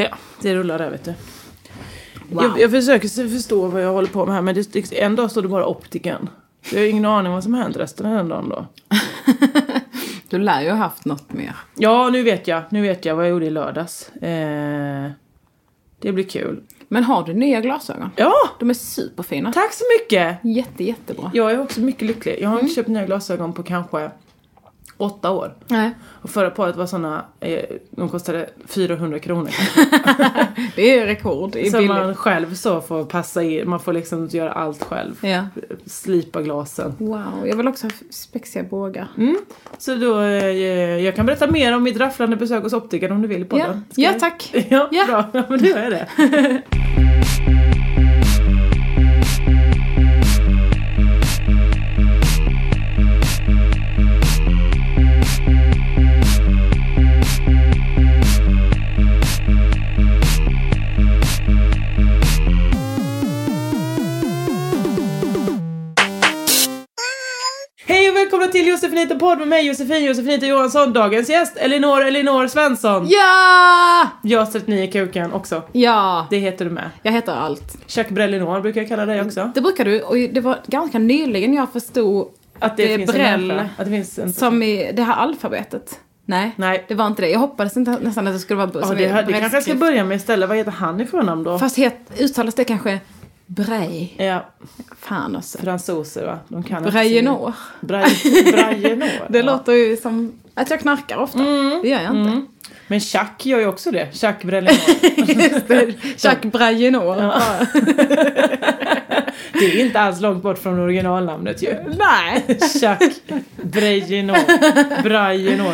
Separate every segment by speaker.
Speaker 1: Ja, det rullar där vet du. Jag, jag försöker se- förstå vad jag håller på med här men det, det- en dag står det bara optiken. Jag har ingen aning vad som hänt resten av den dagen då.
Speaker 2: Du lär ju ha haft något mer.
Speaker 1: Ja, nu vet jag. Nu vet jag vad jag gjorde i lördags. Eh, det blir kul.
Speaker 2: Men har du nya glasögon?
Speaker 1: Ja!
Speaker 2: De är superfina.
Speaker 1: Tack så mycket!
Speaker 2: Jätte, jättebra.
Speaker 1: Jag är också mycket lycklig. Jag har inte köpt nya glasögon på kanske åtta år.
Speaker 2: Nej.
Speaker 1: Och förra paret var såna, eh, de kostade 400 kronor.
Speaker 2: Det är rekord. Det är
Speaker 1: Som
Speaker 2: billigt.
Speaker 1: man själv så får passa in, man får liksom göra allt själv.
Speaker 2: Ja.
Speaker 1: Slipa glasen.
Speaker 2: Wow, jag vill också ha spexiga bågar.
Speaker 1: Så då, eh, jag kan berätta mer om mitt rafflande besök hos optikern om du vill på
Speaker 2: Ja.
Speaker 1: den.
Speaker 2: Ja, tack.
Speaker 1: Ja,
Speaker 2: Ja.
Speaker 1: bra. Ja, men då är det. Hej och välkomna till Josefinita podd med mig Josefin Josefinita Johansson. Dagens gäst Elinor Elinor Svensson.
Speaker 2: Ja!
Speaker 1: Jag har sett ni i kuken också.
Speaker 2: Ja,
Speaker 1: Det heter du med.
Speaker 2: jag heter allt.
Speaker 1: Chuck Brelinor brukar jag kalla dig också.
Speaker 2: Det brukar du, och det var ganska nyligen jag förstod
Speaker 1: Att det,
Speaker 2: Det är
Speaker 1: finns en
Speaker 2: Brell.
Speaker 1: människa. Att det finns en...
Speaker 2: som i det här alfabetet. Nej,
Speaker 1: Nej.
Speaker 2: det var inte det. Jag hoppades inte, nästan att det skulle vara
Speaker 1: Ja,
Speaker 2: som
Speaker 1: det,
Speaker 2: i
Speaker 1: här, det kanske jag ska
Speaker 2: brevskrift.
Speaker 1: börja med istället. Vad heter han i förnamn då?
Speaker 2: Fast het, uttalas det kanske Brej?
Speaker 1: Ja,
Speaker 2: Fan alltså. också.
Speaker 1: fransoser va? De kan inte sin-
Speaker 2: Brejenor.
Speaker 1: Brej- Brejenor.
Speaker 2: Det
Speaker 1: ja.
Speaker 2: låter ju som att jag knarkar ofta.
Speaker 1: Mm.
Speaker 2: Det gör jag inte.
Speaker 1: Men Chuck gör ju också det. Chuck Brelinor.
Speaker 2: Jack Brajenor. Ja.
Speaker 1: det är inte alls långt bort från originalnamnet ju.
Speaker 2: Nej.
Speaker 1: Chuck Brejenor. Brejenor.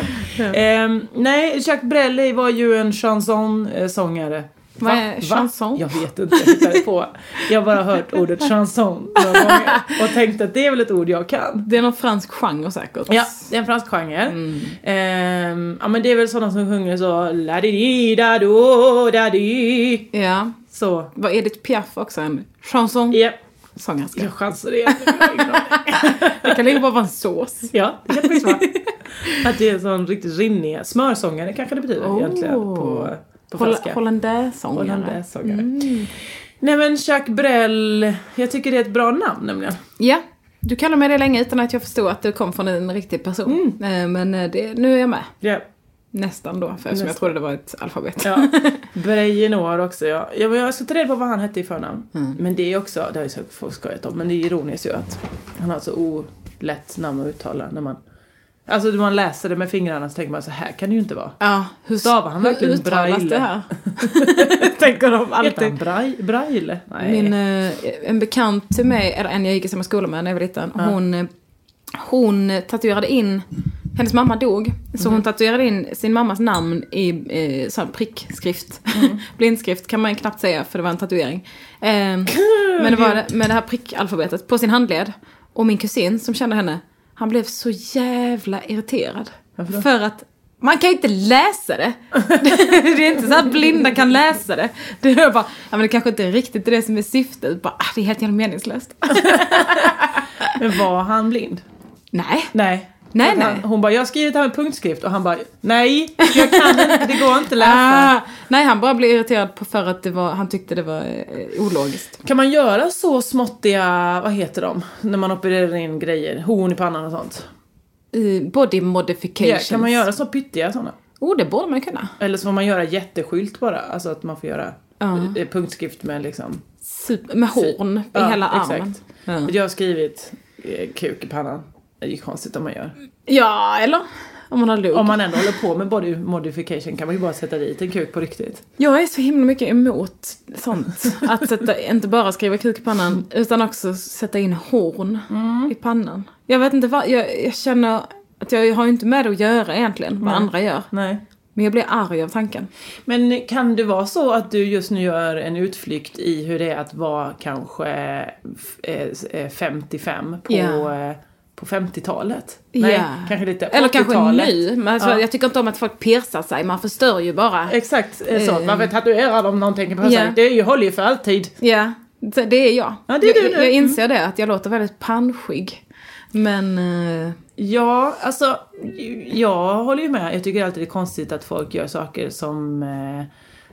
Speaker 1: Ehm, nej, Chuck Brelli var ju en eh, chanson-sångare.
Speaker 2: Vad är chanson?
Speaker 1: Jag vet inte, jag hittade på. Jag har bara hört ordet chanson några gånger och tänkte att det är väl ett ord jag kan.
Speaker 2: Det är någon fransk genre säkert.
Speaker 1: Ja, det är en fransk genre.
Speaker 2: Mm.
Speaker 1: Ehm, ja men det är väl sådana som sjunger så la di di da do da di
Speaker 2: ja.
Speaker 1: Så,
Speaker 2: Var Edith Piaf också en chanson
Speaker 1: ja.
Speaker 2: sångerska?
Speaker 1: Jag chansar igen.
Speaker 2: Det kan lika bara vara en sås.
Speaker 1: Ja, det kan det faktiskt vara. Att det är en sån riktigt rinnig, smörsångare kanske det betyder
Speaker 2: Oh.
Speaker 1: egentligen på, på
Speaker 2: Holl-
Speaker 1: franska.
Speaker 2: Hollandaisesångare.
Speaker 1: Hollandaisesångare.
Speaker 2: Mm.
Speaker 1: Nej men Jacques Brel, jag tycker det är ett bra namn nämligen.
Speaker 2: Ja. Du kallade mig det länge utan att jag förstod att du kom från en riktig
Speaker 1: Mm.
Speaker 2: person. Eh, Men eh, det, nu är jag med.
Speaker 1: Ja,
Speaker 2: Nästan då, för eftersom jag trodde det var ett alfabet.
Speaker 1: ja. Brejenor också ja. ja men jag ska ta reda på vad han hette i förnamn.
Speaker 2: Mm.
Speaker 1: Men det är också, det har ju så folk skojat om, men det är ironiskt ju att han har så olätt namn att uttala när man Alltså när man läser det med fingrarna så tänker man så här kan det ju inte vara.
Speaker 2: Ja, hur
Speaker 1: Stavar han verkligen
Speaker 2: hur uttalas
Speaker 1: braille?
Speaker 2: det här? Tänker de
Speaker 1: Heter han
Speaker 2: alltid.
Speaker 1: Brai- Braille? Nej.
Speaker 2: Min, eh, en bekant till mig, eller en jag gick i samma skola med när jag var liten, hon, eh, hon tatuerade in, hennes mamma dog, så hon tatuerade in sin mammas namn i eh, sån här prickskrift. Blindskrift kan man knappt säga för det var en tatuering. Eh, men det var det- med det här prickalfabetet på sin handled. Och min kusin som kände henne, han blev så jävla irriterad. För att man kan ju inte läsa det. Det är inte så att blinda kan läsa det. Det är bara, ja men det kanske inte är riktigt det som är syftet. Bara, ah, det är helt jävla meningslöst.
Speaker 1: Men var han blind?
Speaker 2: Nej.
Speaker 1: Nej.
Speaker 2: Nej,
Speaker 1: För att Han,
Speaker 2: nej.
Speaker 1: hon bara, jag har skrivit det här med punktskrift och han bara, nej, jag kan inte, det går inte att läsa.
Speaker 2: Ah, nej, han bara blev irriterad på för att det var, han tyckte det var eh, ologiskt.
Speaker 1: Kan man göra så småttiga, vad heter de, när man opererar in grejer, horn i pannan och sånt?
Speaker 2: I body
Speaker 1: Ja,
Speaker 2: modifications.
Speaker 1: kan man göra så pyttiga sådana?
Speaker 2: Oh, det borde man kunna.
Speaker 1: Eller så får man göra jätteskylt bara, alltså att man får göra
Speaker 2: Ja.
Speaker 1: eh, punktskrift med liksom...
Speaker 2: Super, med horn i
Speaker 1: Ja,
Speaker 2: hela armen.
Speaker 1: exakt.
Speaker 2: Ja.
Speaker 1: Jag har skrivit eh, kuk i pannan. Det är ju konstigt om man gör.
Speaker 2: ja, eller? Om man har lugg.
Speaker 1: Om man ändå håller på med body modification kan man ju bara sätta dit en kuk på riktigt.
Speaker 2: Jag är så himla mycket emot sånt. Att sätta, inte bara skriva kuk i pannan utan också sätta in horn
Speaker 1: Mm.
Speaker 2: i pannan. Jag vet inte vad, jag, jag känner att jag har ju inte med det att göra egentligen, vad
Speaker 1: Nej.
Speaker 2: andra gör.
Speaker 1: Nej.
Speaker 2: Men jag blir arg av tanken.
Speaker 1: Men kan det vara så att du just nu gör en utflykt i hur det är att vara kanske f- eh, s- eh, 55 på,
Speaker 2: Ja.
Speaker 1: eh, på 50-talet?
Speaker 2: Ja.
Speaker 1: kanske lite
Speaker 2: Eller kanske
Speaker 1: 80-talet.
Speaker 2: nu. Men alltså,
Speaker 1: Ja.
Speaker 2: Jag tycker inte om att folk persar sig, man förstör ju bara.
Speaker 1: Exakt eh, så,
Speaker 2: Eh.
Speaker 1: varför tatuerar de någonting på
Speaker 2: Ja.
Speaker 1: yeah. Det är ju, håller ju för alltid.
Speaker 2: Ja, det det är jag.
Speaker 1: Ja, det är
Speaker 2: jag,
Speaker 1: du nu. Mm.
Speaker 2: jag, jag inser det, att jag låter väldigt panschig. Men... eh,
Speaker 1: Ja, alltså jag håller ju med. Jag tycker alltid det är konstigt att folk gör saker som, eh,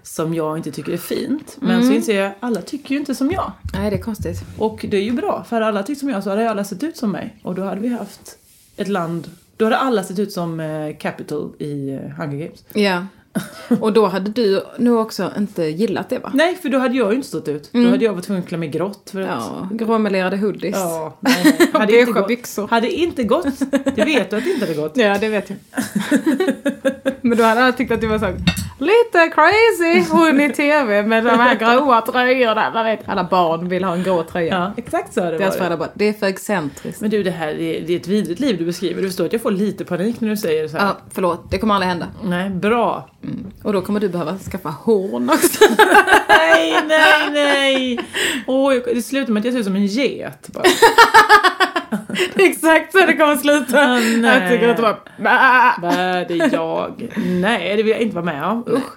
Speaker 1: som jag inte tycker är fint. Men så inser jag, alla tycker ju inte som jag.
Speaker 2: nej, det är konstigt.
Speaker 1: Och det är ju bra, för hade alla tyckt som jag så hade alla sett ut som mig. Och då hade vi haft ett land, då hade alla sett ut som eh, Capital i eh, Hunger Games.
Speaker 2: Ja. Och då hade du nog också inte gillat det va?
Speaker 1: Nej, för då hade jag ju inte stått ut. Då hade jag varit tvungen att klä mig grått. För att,
Speaker 2: Mm. Ja, gråmelerade hoodies.
Speaker 1: ja nej, nej.
Speaker 2: Och
Speaker 1: Hade, inte
Speaker 2: beiga
Speaker 1: gått,
Speaker 2: byxor.
Speaker 1: hade inte gått. Det vet du att det inte hade gått.
Speaker 2: Ja, det vet jag. Men då hade jag tyckt att du var så lite crazy hon i tv med de här gråa tröjorna. Man vet, alla barn vill ha en grå tröja.
Speaker 1: Ja, exakt så hade det
Speaker 2: Deras
Speaker 1: varit.
Speaker 2: föräldrar bara, det är för excentriskt.
Speaker 1: Men du, det här det är, det är ett vidrigt liv du beskriver. Du förstår att jag får lite panik när du säger så här.
Speaker 2: Ja, förlåt, det kommer aldrig hända.
Speaker 1: Nej, bra.
Speaker 2: Mm. Och då kommer du behöva skaffa horn också.
Speaker 1: Nej, nej, nej. Åh, jag- det slutar med att jag ser ut som en get bara.
Speaker 2: Exakt så det kommer sluta.
Speaker 1: Ah, nej.
Speaker 2: jag tycker att det bara... Bah!
Speaker 1: Vad är jag? Nej, det vill jag inte vara med om. Usch.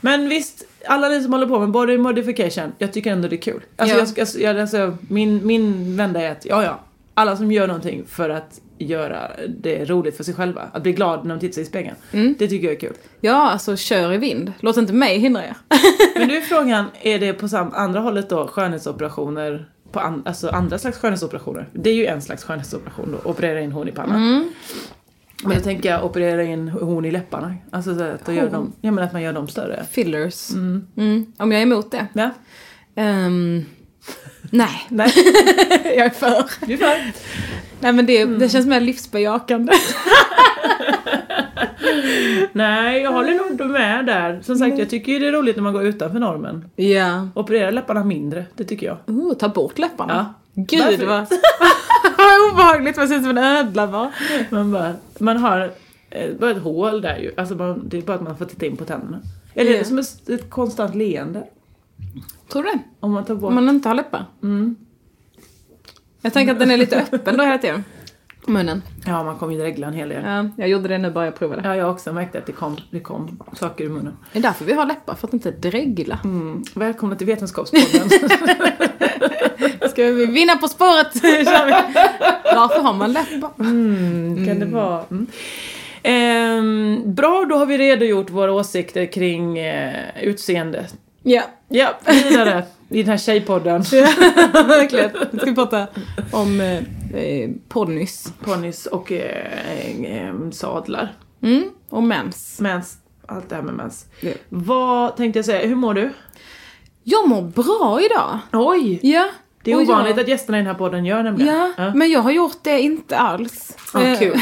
Speaker 1: Men visst, alla ni som håller på med body modification, jag tycker ändå det är kul. Alltså,
Speaker 2: Ja.
Speaker 1: jag, jag, jag, alltså, min, min vända är att, ja ja, alla som gör någonting för att göra det roligt för sig själva, att bli glad när de tittar sig i spegeln, det tycker jag är kul.
Speaker 2: Ja, alltså kör i vind. Låt inte mig hindra er.
Speaker 1: Men nu är frågan, är det på sam, andra hållet då skönhetsoperationer, på an, alltså andra slags skönhetsoperationer? Det är ju en slags skönhetsoperation då, operera in horn i pannan. Men då tänker jag operera in horn i läpparna. Alltså så att, då gör de, ja, men att man gör dem större.
Speaker 2: Fillers. Mm. Om jag är emot det.
Speaker 1: Ja,
Speaker 2: Ehm, nej,
Speaker 1: nej,
Speaker 2: jag är för. Mm.
Speaker 1: du är för.
Speaker 2: Nej men det, det känns mer livsbejakande.
Speaker 1: Nej, jag håller nog med där. Som sagt, jag tycker ju det är roligt när man går utanför normen.
Speaker 2: Ja.
Speaker 1: Operera läpparna mindre, det tycker jag.
Speaker 2: Oh, ta bort läpparna. Gud
Speaker 1: Varför?
Speaker 2: vad, vad obehagligt, man ser ut som en ödla bara.
Speaker 1: Man, bara, man har eh, bara ett hål där ju. Alltså man, det är bara att man får titta in på tänderna. Eller är
Speaker 2: Ja.
Speaker 1: det som ett, ett konstant leende?
Speaker 2: Tror du det? Mm.
Speaker 1: Om man tar bort...
Speaker 2: Om man inte har läppar? Jag tänker att den är lite öppen då hela tiden. Munnen.
Speaker 1: Ja, man kommer ju dregla en hel del.
Speaker 2: Ja, jag gjorde det nu bara jag provade.
Speaker 1: Ja, jag har också märkt att det kom, det kom saker i munnen.
Speaker 2: Det är därför vi har läppar, för att inte dregla.
Speaker 1: Välkomna till Vetenskapspodden.
Speaker 2: Ska vi vinna På spåret? Kör vi. Varför har man läppar?
Speaker 1: Kan det vara? Mm. Ehm, bra, då har vi redogjort våra åsikter kring eh, utseende.
Speaker 2: Ja,
Speaker 1: Ja, vidare i den här tjejpodden.
Speaker 2: verkligen. Nu ska vi prata om eh, eh, ponnys.
Speaker 1: Ponnys och eh, eh, sadlar.
Speaker 2: Mm. Och mens.
Speaker 1: Mens. Allt det här med mens.
Speaker 2: Ja.
Speaker 1: Vad tänkte jag säga, hur mår du?
Speaker 2: Jag mår bra idag.
Speaker 1: Oj!
Speaker 2: Ja.
Speaker 1: Det är
Speaker 2: och
Speaker 1: ovanligt
Speaker 2: jag,
Speaker 1: att gästerna i den här podden gör nämligen.
Speaker 2: Ja, men jag har gjort det inte alls.
Speaker 1: Ja,
Speaker 2: Eh,
Speaker 1: kul.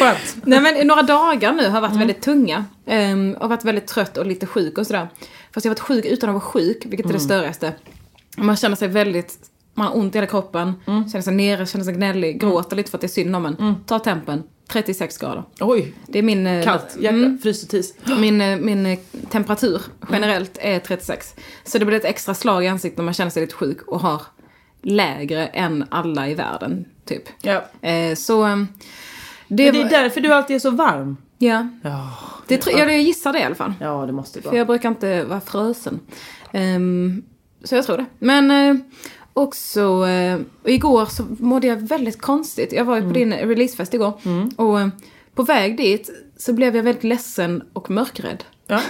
Speaker 1: Skönt.
Speaker 2: Nej men några dagar nu har varit
Speaker 1: Mm.
Speaker 2: väldigt tunga. Um, har varit väldigt trött och lite sjuk och sådär. Fast jag har varit sjuk utan att vara sjuk, vilket är
Speaker 1: Mm.
Speaker 2: det störigaste. Man känner sig väldigt, man har ont i hela kroppen,
Speaker 1: Mm.
Speaker 2: känner sig nere, känner sig gnällig, gråter lite för att det är synd om en. Ta tempen, 36 grader.
Speaker 1: Oj,
Speaker 2: Det är min... eh,
Speaker 1: kallt. Hjärta,
Speaker 2: mm,
Speaker 1: fryser tis.
Speaker 2: min, eh, min eh, temperatur generellt är 36. Så det blir ett extra slag i ansiktet när man känner sig lite sjuk och har lägre än alla i världen, typ.
Speaker 1: Ja.
Speaker 2: Eh, så... eh,
Speaker 1: Det
Speaker 2: Det,
Speaker 1: är
Speaker 2: var-
Speaker 1: därför du alltid är så varm.
Speaker 2: Ja,
Speaker 1: Ja,
Speaker 2: det tror jag, jag gissar det i alla fall.
Speaker 1: ja det måste det
Speaker 2: För
Speaker 1: vara.
Speaker 2: jag brukar inte vara frösen. Ehm, så jag tror det. Men eh, också, eh, och igår så mådde jag väldigt konstigt. Jag var ju på
Speaker 1: Mm.
Speaker 2: din releasefest igår. Och eh, på väg dit så blev jag väldigt ledsen och mörkrädd.
Speaker 1: Ja.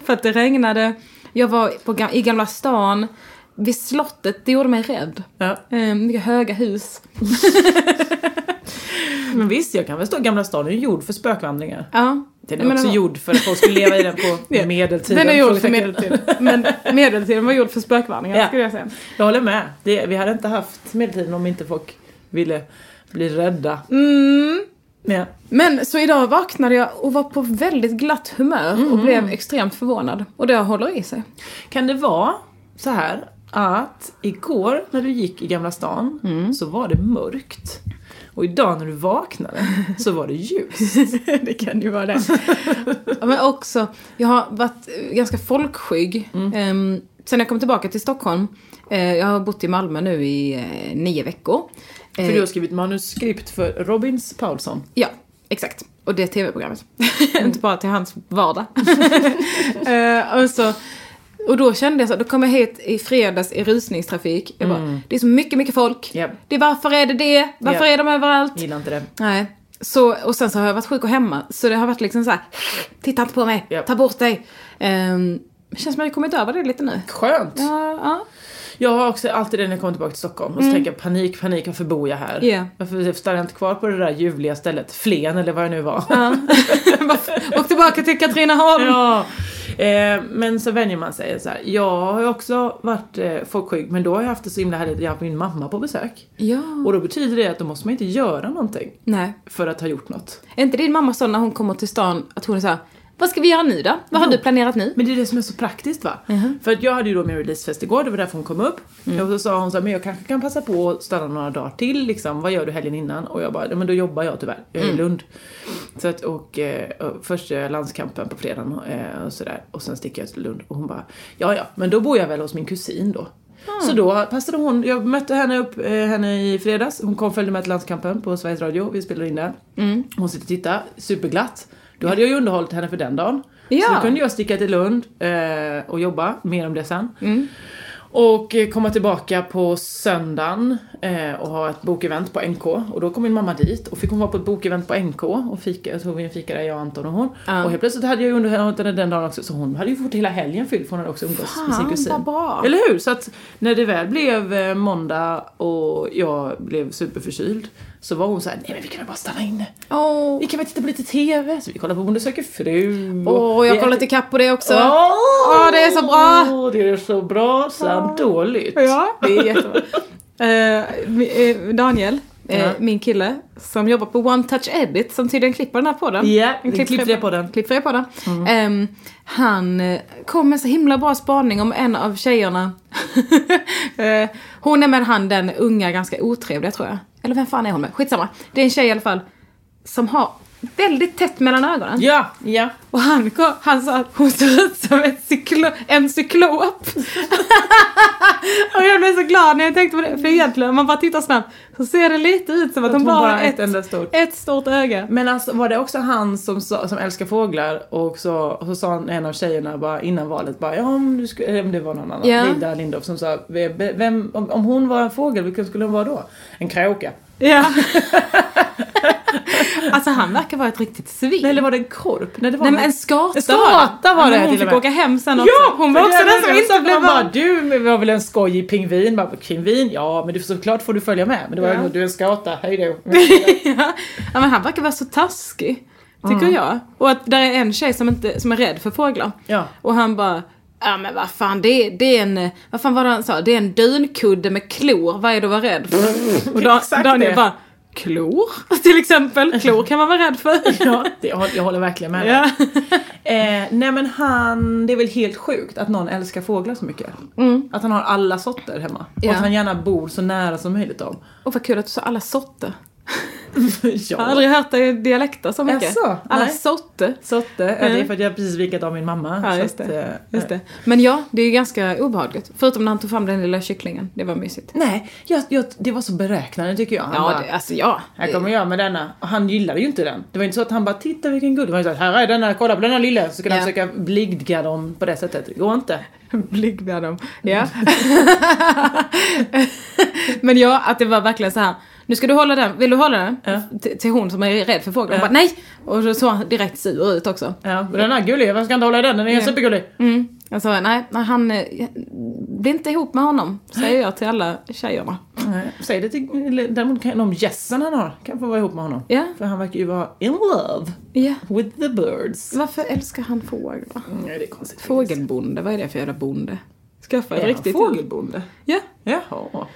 Speaker 2: För att det regnade, jag var på, ga- i Gamla stan, vid slottet, det gjorde mig rädd.
Speaker 1: Ja.
Speaker 2: Ehm, Mycket höga hus.
Speaker 1: Men visst, jag kan väl stå Gamla stan är ju gjord för spökvandringar.
Speaker 2: Ja,
Speaker 1: Den
Speaker 2: Jag
Speaker 1: är
Speaker 2: menar
Speaker 1: också
Speaker 2: vad-
Speaker 1: gjord för att folk skulle leva i den på
Speaker 2: Ja.
Speaker 1: medeltiden.
Speaker 2: Den är gjord för
Speaker 1: Frågetecken.
Speaker 2: medeltid. Men medeltiden var gjord för spökvandringar
Speaker 1: Ja.
Speaker 2: skulle jag säga.
Speaker 1: Jag håller med. Det, vi hade inte haft medeltiden om inte folk ville bli rädda.
Speaker 2: Mm.
Speaker 1: Ja.
Speaker 2: Men så idag vaknade jag och var på väldigt glatt humör och
Speaker 1: Mm-hmm.
Speaker 2: blev extremt förvånad. Och det håller i sig.
Speaker 1: Kan det vara så här att igår när du gick i Gamla stan så var det mörkt. Och idag när du vaknade så var det ljust.
Speaker 2: det kan ju vara det. Ja, Men också, jag har varit eh, ganska folkskygg. Ehm, sen jag kom tillbaka till Stockholm. eh, jag har bott i Malmö nu i eh, nio veckor. Eh,
Speaker 1: För du har skrivit manuskript för Robins Paulsson.
Speaker 2: Ja, exakt. Och det tv-programmet. Inte bara till hans vardag. Eh, och, så, och då kände jag så, då kom jag hit i fredags i rusningstrafik. Jag bara, det är så mycket, mycket folk.
Speaker 1: Japp.
Speaker 2: Det är, varför är det det? Varför
Speaker 1: Japp.
Speaker 2: är de överallt?
Speaker 1: Gillar inte det.
Speaker 2: Nej. Så, och sen så har jag varit sjuk och hemma. Så det har varit liksom så här, titta inte på mig,
Speaker 1: Japp.
Speaker 2: ta bort dig. Um, känns som att jag kommit över det lite nu.
Speaker 1: Skönt!
Speaker 2: Ja, ja.
Speaker 1: Jag har också alltid det när jag kommer tillbaka till Stockholm och så tänker jag panik, panik, varför bor jag här?
Speaker 2: Ja.
Speaker 1: Varför typ stannar jag inte kvar på det där ljuvliga stället? Flen eller vad jag nu var.
Speaker 2: Och tillbaka till Katrineholm.
Speaker 1: Ja. Eh, men så vänjer man sig. Så här. Jag har ju också varit eh, folkskygg men då har jag haft det så himla härligt. Jag har haft min mamma på besök.
Speaker 2: Ja.
Speaker 1: Och då betyder det att då måste man inte göra någonting
Speaker 2: Nej.
Speaker 1: för att ha gjort något.
Speaker 2: Är inte din mamma sån när hon kommer till stan att hon är såhär, vad ska vi göra nu då? Vad har du planerat nu?
Speaker 1: Men det är det som är så praktiskt va?
Speaker 2: Mhm.
Speaker 1: För att jag hade ju då min releasefest igår, det var därför hon kom upp. Och så sa hon så här, men jag kanske kan passa på att stanna några dagar till liksom. Vad gör du helgen innan? Och jag bara, "Ja, men då jobbar jag tyvärr. Jag är i Lund. Så att, och, eh, och först gör jag landskampen på fredagen eh, och sådär. Och sen sticker jag till Lund. Och hon bara, ja ja, men då bor jag väl hos min kusin då. Så då passade hon, jag mötte henne upp, eh, henne i fredags. Hon kom och följde med till landskampen på Sveriges Radio. Vi spelade in där. Hon sitter och tittar, superglatt. Då hade jag ju underhållit henne för den dagen. Så
Speaker 2: Ja.
Speaker 1: då kunde jag sticka till Lund eh, och jobba, mer om det sen.
Speaker 2: Mm.
Speaker 1: Och eh, komma tillbaka på söndagen eh, och ha ett bokevent på NK. Och då kom min mamma dit och fick hon vara på ett bokevent på NK och fika, så tog vi en fika där jag, Anton och hon.
Speaker 2: Ja.
Speaker 1: Och helt plötsligt hade jag ju underhållit henne den dagen också så hon hade ju fått hela helgen fylld för hon hade också umgåtts med sin
Speaker 2: Fan,
Speaker 1: kusin.
Speaker 2: vad bra.
Speaker 1: Eller hur? Så att när det väl blev eh, måndag och jag blev superförkyld så var hon så här, nej men vi kan ju bara stanna inne.
Speaker 2: Åh,
Speaker 1: Vi kan väl titta på lite TV? Så vi kollar på Bonde söker fru.
Speaker 2: Åh,
Speaker 1: vi
Speaker 2: jag
Speaker 1: äter-
Speaker 2: kollar till kapp på det också.
Speaker 1: Åh,
Speaker 2: Åh, det är så bra.
Speaker 1: Det är så bra samt dåligt.
Speaker 2: Ja, det är jättebra. Eh, vi- eh, Daniel, eh,
Speaker 1: Ja.
Speaker 2: min kille, som jobbar på One Touch Edit, som tydligen klipper den här podden.
Speaker 1: Ja, den
Speaker 2: klippfria-
Speaker 1: klippfria podden. Mm.
Speaker 2: Klippfria podden. Ehm, han eh, kom med så himla bra spaning om en av tjejerna. Eh, hon är med han den unga, ganska otrevliga tror jag. Eller vem fan är hon med? Skitsamma. Det är en tjej i alla fall som har väldigt tätt mellan ögonen.
Speaker 1: Ja, ja.
Speaker 2: Och han, kom, han sa att hon ser ut som ett cyklo, en cyklop. och jag blev så glad när jag tänkte på det. För egentligen om man bara tittar snabbt så ser det lite ut som att, hon bara har ett, ett,
Speaker 1: enda stort.
Speaker 2: stort öga.
Speaker 1: Men alltså var det också han som, sa, som älskar fåglar och så, och så sa han, en av tjejerna bara innan valet bara ja om du skulle, eller om det var någon annan,
Speaker 2: Ja.
Speaker 1: Linda Lindorff som sa "Ve- vem, om, om hon var en fågel vilken skulle hon vara då? En kråka.
Speaker 2: Ja. alltså han verkar vara ett riktigt svin.
Speaker 1: Nej eller var det en korp? Nej det var
Speaker 2: Nej men en skata,
Speaker 1: En skata var
Speaker 2: Ja, men
Speaker 1: det
Speaker 2: Hon
Speaker 1: till
Speaker 2: fick
Speaker 1: och med.
Speaker 2: åka hem sen också.
Speaker 1: Ja!
Speaker 2: hon var
Speaker 1: för
Speaker 2: också
Speaker 1: det är
Speaker 2: den som
Speaker 1: det.
Speaker 2: inte blev
Speaker 1: Man bara,
Speaker 2: vald.
Speaker 1: Du var väl en skojig pingvin? Bara, pingvin? Ja, men du, såklart får du följa med. Men det var
Speaker 2: Ja.
Speaker 1: ju du är en skata, hej då.
Speaker 2: ja. ja men han verkar vara så taskig. Tycker jag. Och att där är en tjej som, inte, som är rädd för fåglar.
Speaker 1: Ja.
Speaker 2: Och han bara Ja men vad fan det är, det är en, eh, vad fan var det han sa? Det är en dunkudde med klor, vad är du att vara rädd för? Och da,
Speaker 1: Exakt
Speaker 2: Daniel
Speaker 1: det.
Speaker 2: bara, klor? Till exempel, klor kan man vara rädd för.
Speaker 1: Ja, det, jag, håller- jag håller verkligen med dig.
Speaker 2: Ja.
Speaker 1: Eh, nej men han, det är väl helt sjukt att någon älskar fåglar så mycket. Att han har alla sorter hemma.
Speaker 2: Mm. Ja.
Speaker 1: Och att han gärna bor så nära som möjligt dem.
Speaker 2: Och vad kul att du sa alla sorter. Jag har
Speaker 1: ja.
Speaker 2: aldrig hört dig dialekta så mycket.
Speaker 1: Jaså?
Speaker 2: alla
Speaker 1: Nej.
Speaker 2: sorter.
Speaker 1: Sorter, ja, det är
Speaker 2: Mm.
Speaker 1: för att jag precis vikat av min mamma.
Speaker 2: Ja,
Speaker 1: så
Speaker 2: just
Speaker 1: att,
Speaker 2: det.
Speaker 1: eh,
Speaker 2: Just det. Men ja, det är ju ganska obehagligt. Förutom när han tog fram den lilla kycklingen, det var mysigt.
Speaker 1: Nej, jag, jag, det var så beräknande tycker jag. Han
Speaker 2: Ja,
Speaker 1: bara,
Speaker 2: det, alltså ja.
Speaker 1: Här kommer jag med denna. Och han gillade ju inte den. Det var inte så att han bara titta vilken gullig. Han sa här är denna, kolla på denna lilla. Så kunde
Speaker 2: Ja.
Speaker 1: han försöka blidga dem på det sättet. Det går inte.
Speaker 2: Blyg med dem. Ja. Men ja, att det var verkligen så här. Nu ska du hålla den, vill du hålla den? T- Till hon som är rädd för fåglar. Hon
Speaker 1: Ja.
Speaker 2: bara, nej! Och så såg han direkt sur ut också.
Speaker 1: Ja, men den här gulliga, varför ska jag inte hålla i den? Den är supergullig.
Speaker 2: Mm. Jag sa, nej, nej han, eh, bli inte ihop med honom. Säger jag till alla tjejerna.
Speaker 1: Nej, Säg det till, eller däremot kan de gässen han har kan få vara ihop med honom.
Speaker 2: Ja.
Speaker 1: För han verkar ju vara in love
Speaker 2: Ja.
Speaker 1: with the birds.
Speaker 2: Varför älskar han fåglar?
Speaker 1: Nej, det är konstigt.
Speaker 2: Fågelbonde, vad är det för jävla bonde? Skaffa ett
Speaker 1: Är han
Speaker 2: riktigt...
Speaker 1: fågelbonde?
Speaker 2: Ja.
Speaker 1: Jaha.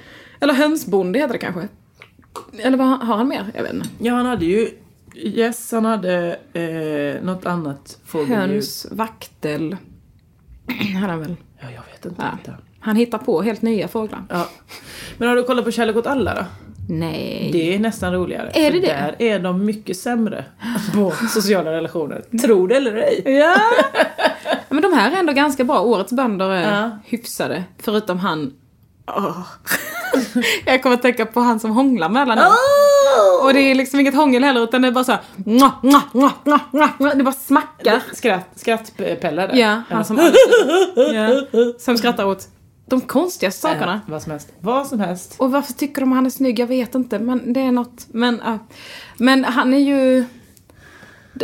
Speaker 2: Eller hönsbonde heter det kanske. Eller vad har han mer? Jag vet inte.
Speaker 1: Ja, han hade ju gäss, han hade eh, något annat fågeldjur.
Speaker 2: Höns, vaktel. hade han väl.
Speaker 1: Ja, jag vet inte.
Speaker 2: Ja.
Speaker 1: Vänta.
Speaker 2: Han hittar på helt nya fåglar.
Speaker 1: Ja. Men har du kollat på Kärlek åt alla då?
Speaker 2: Nej.
Speaker 1: Det är nästan roligare.
Speaker 2: Är det
Speaker 1: För
Speaker 2: det?
Speaker 1: Där är de mycket sämre på sociala relationer. Tror det eller ej.
Speaker 2: Ja! Men de här är ändå ganska bra. Årets bönder är
Speaker 1: Ja.
Speaker 2: hyfsade. Förutom han... Åh. Jag kommer att tänka på han som hånglar med alla nu. Och det är liksom inget hångel heller utan det är bara så här, "Mwah, mwah, mwah, mwah, mwah, mwah." Det bara smackar.
Speaker 1: Skratt, skrattpelle där.
Speaker 2: Ja, han som alltid, ja, Som skrattar åt de konstigaste sakerna.
Speaker 1: Vad som helst. Vad som helst.
Speaker 2: Och varför tycker de han är snygg? Jag vet inte. Men det är något. Men, ja. men han är ju...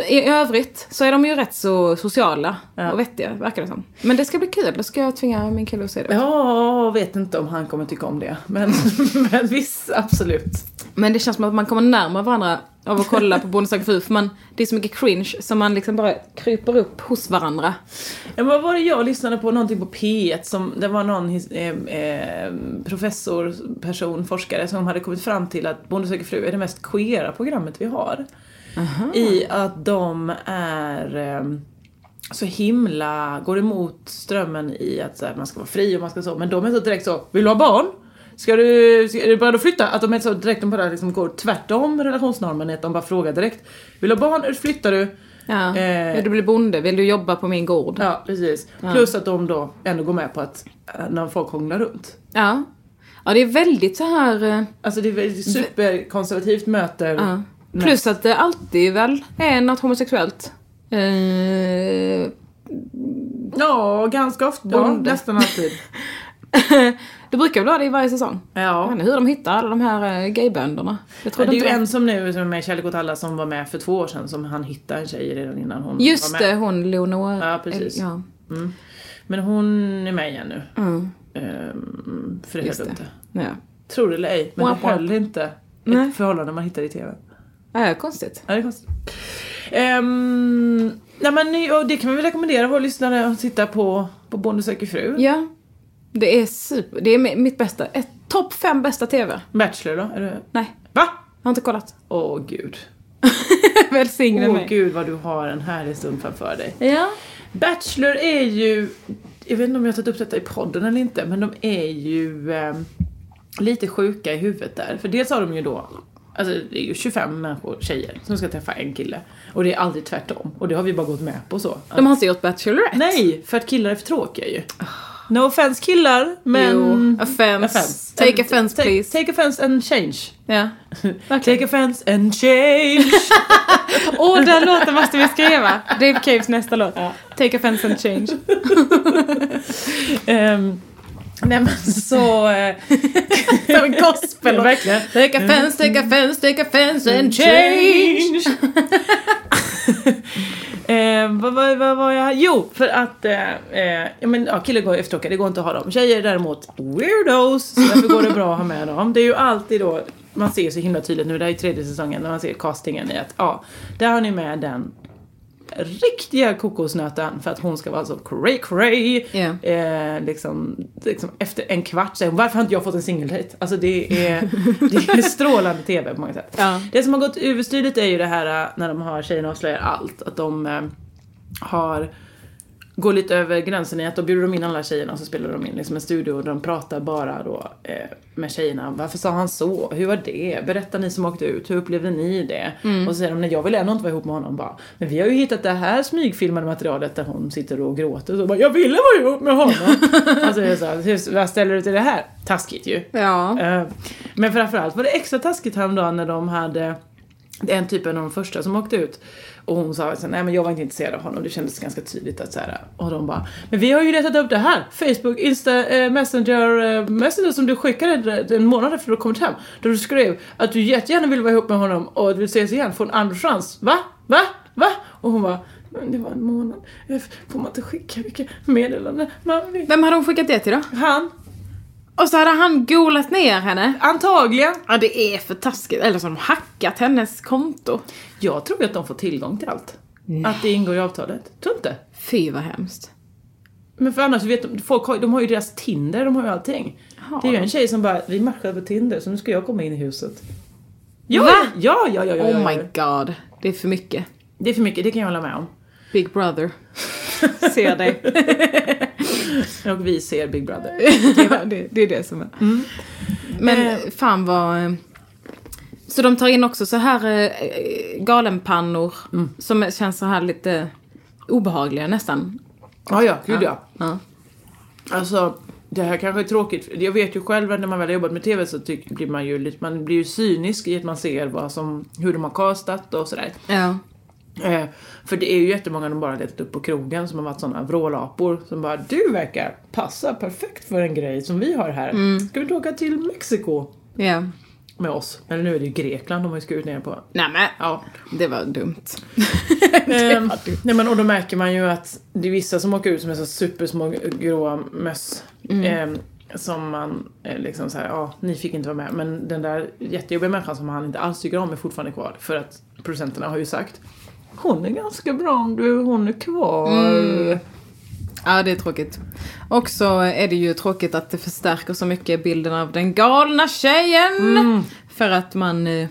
Speaker 2: I övrigt så är de ju rätt så sociala och vettiga, verkar det som. Men det ska bli kul. Då ska jag tvinga min kille att se det.
Speaker 1: Ja, vet inte om han kommer tycka om det. Men, men visst, absolut.
Speaker 2: Men det känns som att man kommer närmare varandra av att kolla på Bonde söker fru. För man, det är så mycket cringe som man liksom bara kryper upp hos varandra.
Speaker 1: Ja, men vad var det jag lyssnade på? Någonting på P1 som, det var någon his, eh, eh, professor, person, forskare som hade kommit fram till att Bonde söker fru är det mest queera programmet vi har. I att de är eh, så himla, går emot strömmen i att så här, man ska vara fri och man ska så, men de är så direkt så, vill du ha barn? Ska du, ska, är du beredd att flytta? Att de är så direkt, de bara liksom går tvärtom relationsnormen, att de bara frågar direkt. Vill du ha barn? Flyttar du?
Speaker 2: Ja.
Speaker 1: Eh.
Speaker 2: Vill du bli bonde? Vill du jobba på min gård?
Speaker 1: Ja, precis. Plus att de då ändå går med på att eh, när folk hånglar runt.
Speaker 2: Ja. Ja, det är väldigt så här... eh,
Speaker 1: Alltså det är väldigt superkonservativt möter.
Speaker 2: Ja.
Speaker 1: Mm.
Speaker 2: Plus att det alltid väl är något homosexuellt. Eh,
Speaker 1: Ja, ganska ofta. Mm. Ja,
Speaker 2: Bonde.
Speaker 1: nästan alltid.
Speaker 2: det brukar väl vara det i varje säsong. Jag vet
Speaker 1: Ja.
Speaker 2: inte hur de hittar alla de här eh, gaybönderna. Jag
Speaker 1: Det är
Speaker 2: trodde
Speaker 1: ju
Speaker 2: inte de...
Speaker 1: en som nu som är med i Kärlek åt alla som var med för två år sedan som han hittade en tjej redan innan hon var
Speaker 2: Just
Speaker 1: med.
Speaker 2: det, hon Leonora.
Speaker 1: Ja, precis.
Speaker 2: Ja.
Speaker 1: Men hon är med igen nu.
Speaker 2: Mm,
Speaker 1: Ehm, för det
Speaker 2: just
Speaker 1: höll
Speaker 2: det.
Speaker 1: inte.
Speaker 2: Ja.
Speaker 1: Tror det eller ej, men
Speaker 2: Wow.
Speaker 1: det höll inte.
Speaker 2: Nej.
Speaker 1: Ett förhållande man hittar i TV.
Speaker 2: Ja, konstigt.
Speaker 1: Ja, det är konstigt. Ehm, nej men ni- och det kan vi väl rekommendera våra lyssnare att titta på, på Bonde söker fru.
Speaker 2: Ja. Det är super... Det är mi- mitt bästa... Ett topp fem bästa TV.
Speaker 1: Bachelor då? Är det...
Speaker 2: Nej,
Speaker 1: Va?
Speaker 2: jag har inte kollat.
Speaker 1: Åh gud.
Speaker 2: Välsigne
Speaker 1: Åh
Speaker 2: mig.
Speaker 1: gud vad du har en härlig stund framför dig.
Speaker 2: Ja.
Speaker 1: Bachelor är ju, jag vet inte om jag har tagit upp detta i podden eller inte, men de är ju eh, lite sjuka i huvudet där. För dels har de ju då, alltså det är ju 25 människor, tjejer, som ska träffa en kille. Och det är aldrig tvärtom. Och det har vi bara gått med på så.
Speaker 2: De har inte gjort Bachelorette.
Speaker 1: Nej, för att killar är för tråkiga ju. No offense killar, men...
Speaker 2: Jo. Offense. Take offense
Speaker 1: take,
Speaker 2: please.
Speaker 1: Take offense and change.
Speaker 2: Ja.
Speaker 1: Take offense and change.
Speaker 2: Åh, den låten måste vi skriva! Dave Caves nästa låt. Take offense and change.
Speaker 1: Ehm, nej men så... eh,
Speaker 2: Som en gospel.
Speaker 1: Ja, verkligen.
Speaker 2: Take offense, take offense, take offense and change!
Speaker 1: Change! Ehm, vad var vad var jag? Jo, för att eh, eh, ja, men, ja, killar går eftertråkiga, det går inte att ha dem. Tjejer är däremot weirdos, så därför går det bra att ha med dem. Det är ju alltid då, man ser så himla tydligt nu, det här är tredje säsongen, när man ser castingen i att ja, där har ni med den riktiga kokosnöten för att hon ska vara så cray cray.
Speaker 2: Ja.
Speaker 1: Eh, liksom, liksom efter en kvart säger hon varför har inte jag fått en singeldejt? Alltså det är, det är strålande TV på många sätt.
Speaker 2: Ja.
Speaker 1: Det som har gått överstyr lite är ju det här eh, när de har tjejerna avslöjar allt. Att de eh, har går lite över gränsen i att då bjuder de in alla tjejerna och så spelar de in liksom en studio och de pratar bara då eh, med tjejerna. Varför sa han så? Hur var det? Berätta ni som åkte ut, hur upplevde ni det? Och så säger de, nej jag vill ändå inte vara ihop med honom bara. Men vi har ju hittat det här smygfilmade materialet där hon sitter och gråter och så bara, jag ville vara ihop med honom. alltså det är så, här, hur- vad ställer du till det här? Taskigt ju.
Speaker 2: Ja.
Speaker 1: Eh, Men framförallt var det extra taskigt häromdagen när de hade det är en typ av de första som åkte ut och hon sa så här, nej men jag var inte intresserad av honom, det kändes ganska tydligt att så här, och de bara Men vi har ju letat upp det här! Facebook, Insta, eh, Messenger, eh, Messenger som du skickade en månad efter du kommit hem Där du skrev att du jättegärna vill vara ihop med honom och du vill ses igen, få en andra chans, va? Va? Va? Och hon bara men det var en månad, Eh, får man inte skicka vilka meddelanden man vill?
Speaker 2: Vem har de skickat det till då?
Speaker 1: Han
Speaker 2: Och så hade han golat ner henne.
Speaker 1: Antagligen.
Speaker 2: Ja, det är för taskigt. Eller så har de hackat hennes konto.
Speaker 1: Jag tror ju att de får tillgång till allt. Att det ingår i avtalet. Tror inte.
Speaker 2: Fy vad hemskt.
Speaker 1: Men för annars vet de, folk har, de har ju deras Tinder, de har ju allting. Det är ju en tjej som bara, vi matchade på Tinder så nu ska jag komma in i huset. Ja,
Speaker 2: Va?
Speaker 1: ja, ja, ja, ja, ja,
Speaker 2: Oh my
Speaker 1: ja.
Speaker 2: god. Det är för mycket.
Speaker 1: Det är för mycket, det kan jag hålla med om.
Speaker 2: Big brother. Ser dig.
Speaker 1: Och vi ser Big Brother.
Speaker 2: ja, det, det är det som är. Mm. Men fan vad... eh, Så de tar in också så här eh, galenpannor som känns så här lite obehagliga nästan.
Speaker 1: Ja, ja, gud ja.
Speaker 2: Ja.
Speaker 1: Alltså, det här kanske är tråkigt. Jag vet ju själv att när man väl har jobbat med TV så tyck, blir man ju lite, man blir ju cynisk i att man ser vad som, hur de har castat och sådär.
Speaker 2: Ja.
Speaker 1: Eh, för det är ju jättemånga de bara letat upp på krogen som har varit sådana vrålapor som bara du verkar passa perfekt för en grej som vi har här. Ska vi inte åka till Mexiko
Speaker 2: ja.
Speaker 1: med oss? Eller nu är det ju Grekland de har ju skurit ner på.
Speaker 2: Nej men,
Speaker 1: Ja.
Speaker 2: det var dumt.
Speaker 1: Ehm, nej men och då märker man ju att det är vissa som åker ut som är så supersmå gråa möss. Ehm, som man eh, liksom såhär, ja ni fick inte vara med. Men den där jättejobbiga människan som han inte alls tycker om är fortfarande kvar. För att producenterna har ju sagt hon är ganska bra om du, hon är kvar.
Speaker 2: Ja, det är tråkigt. Och så är det ju tråkigt att det förstärker så mycket bilden av den galna tjejen. För att man, eh,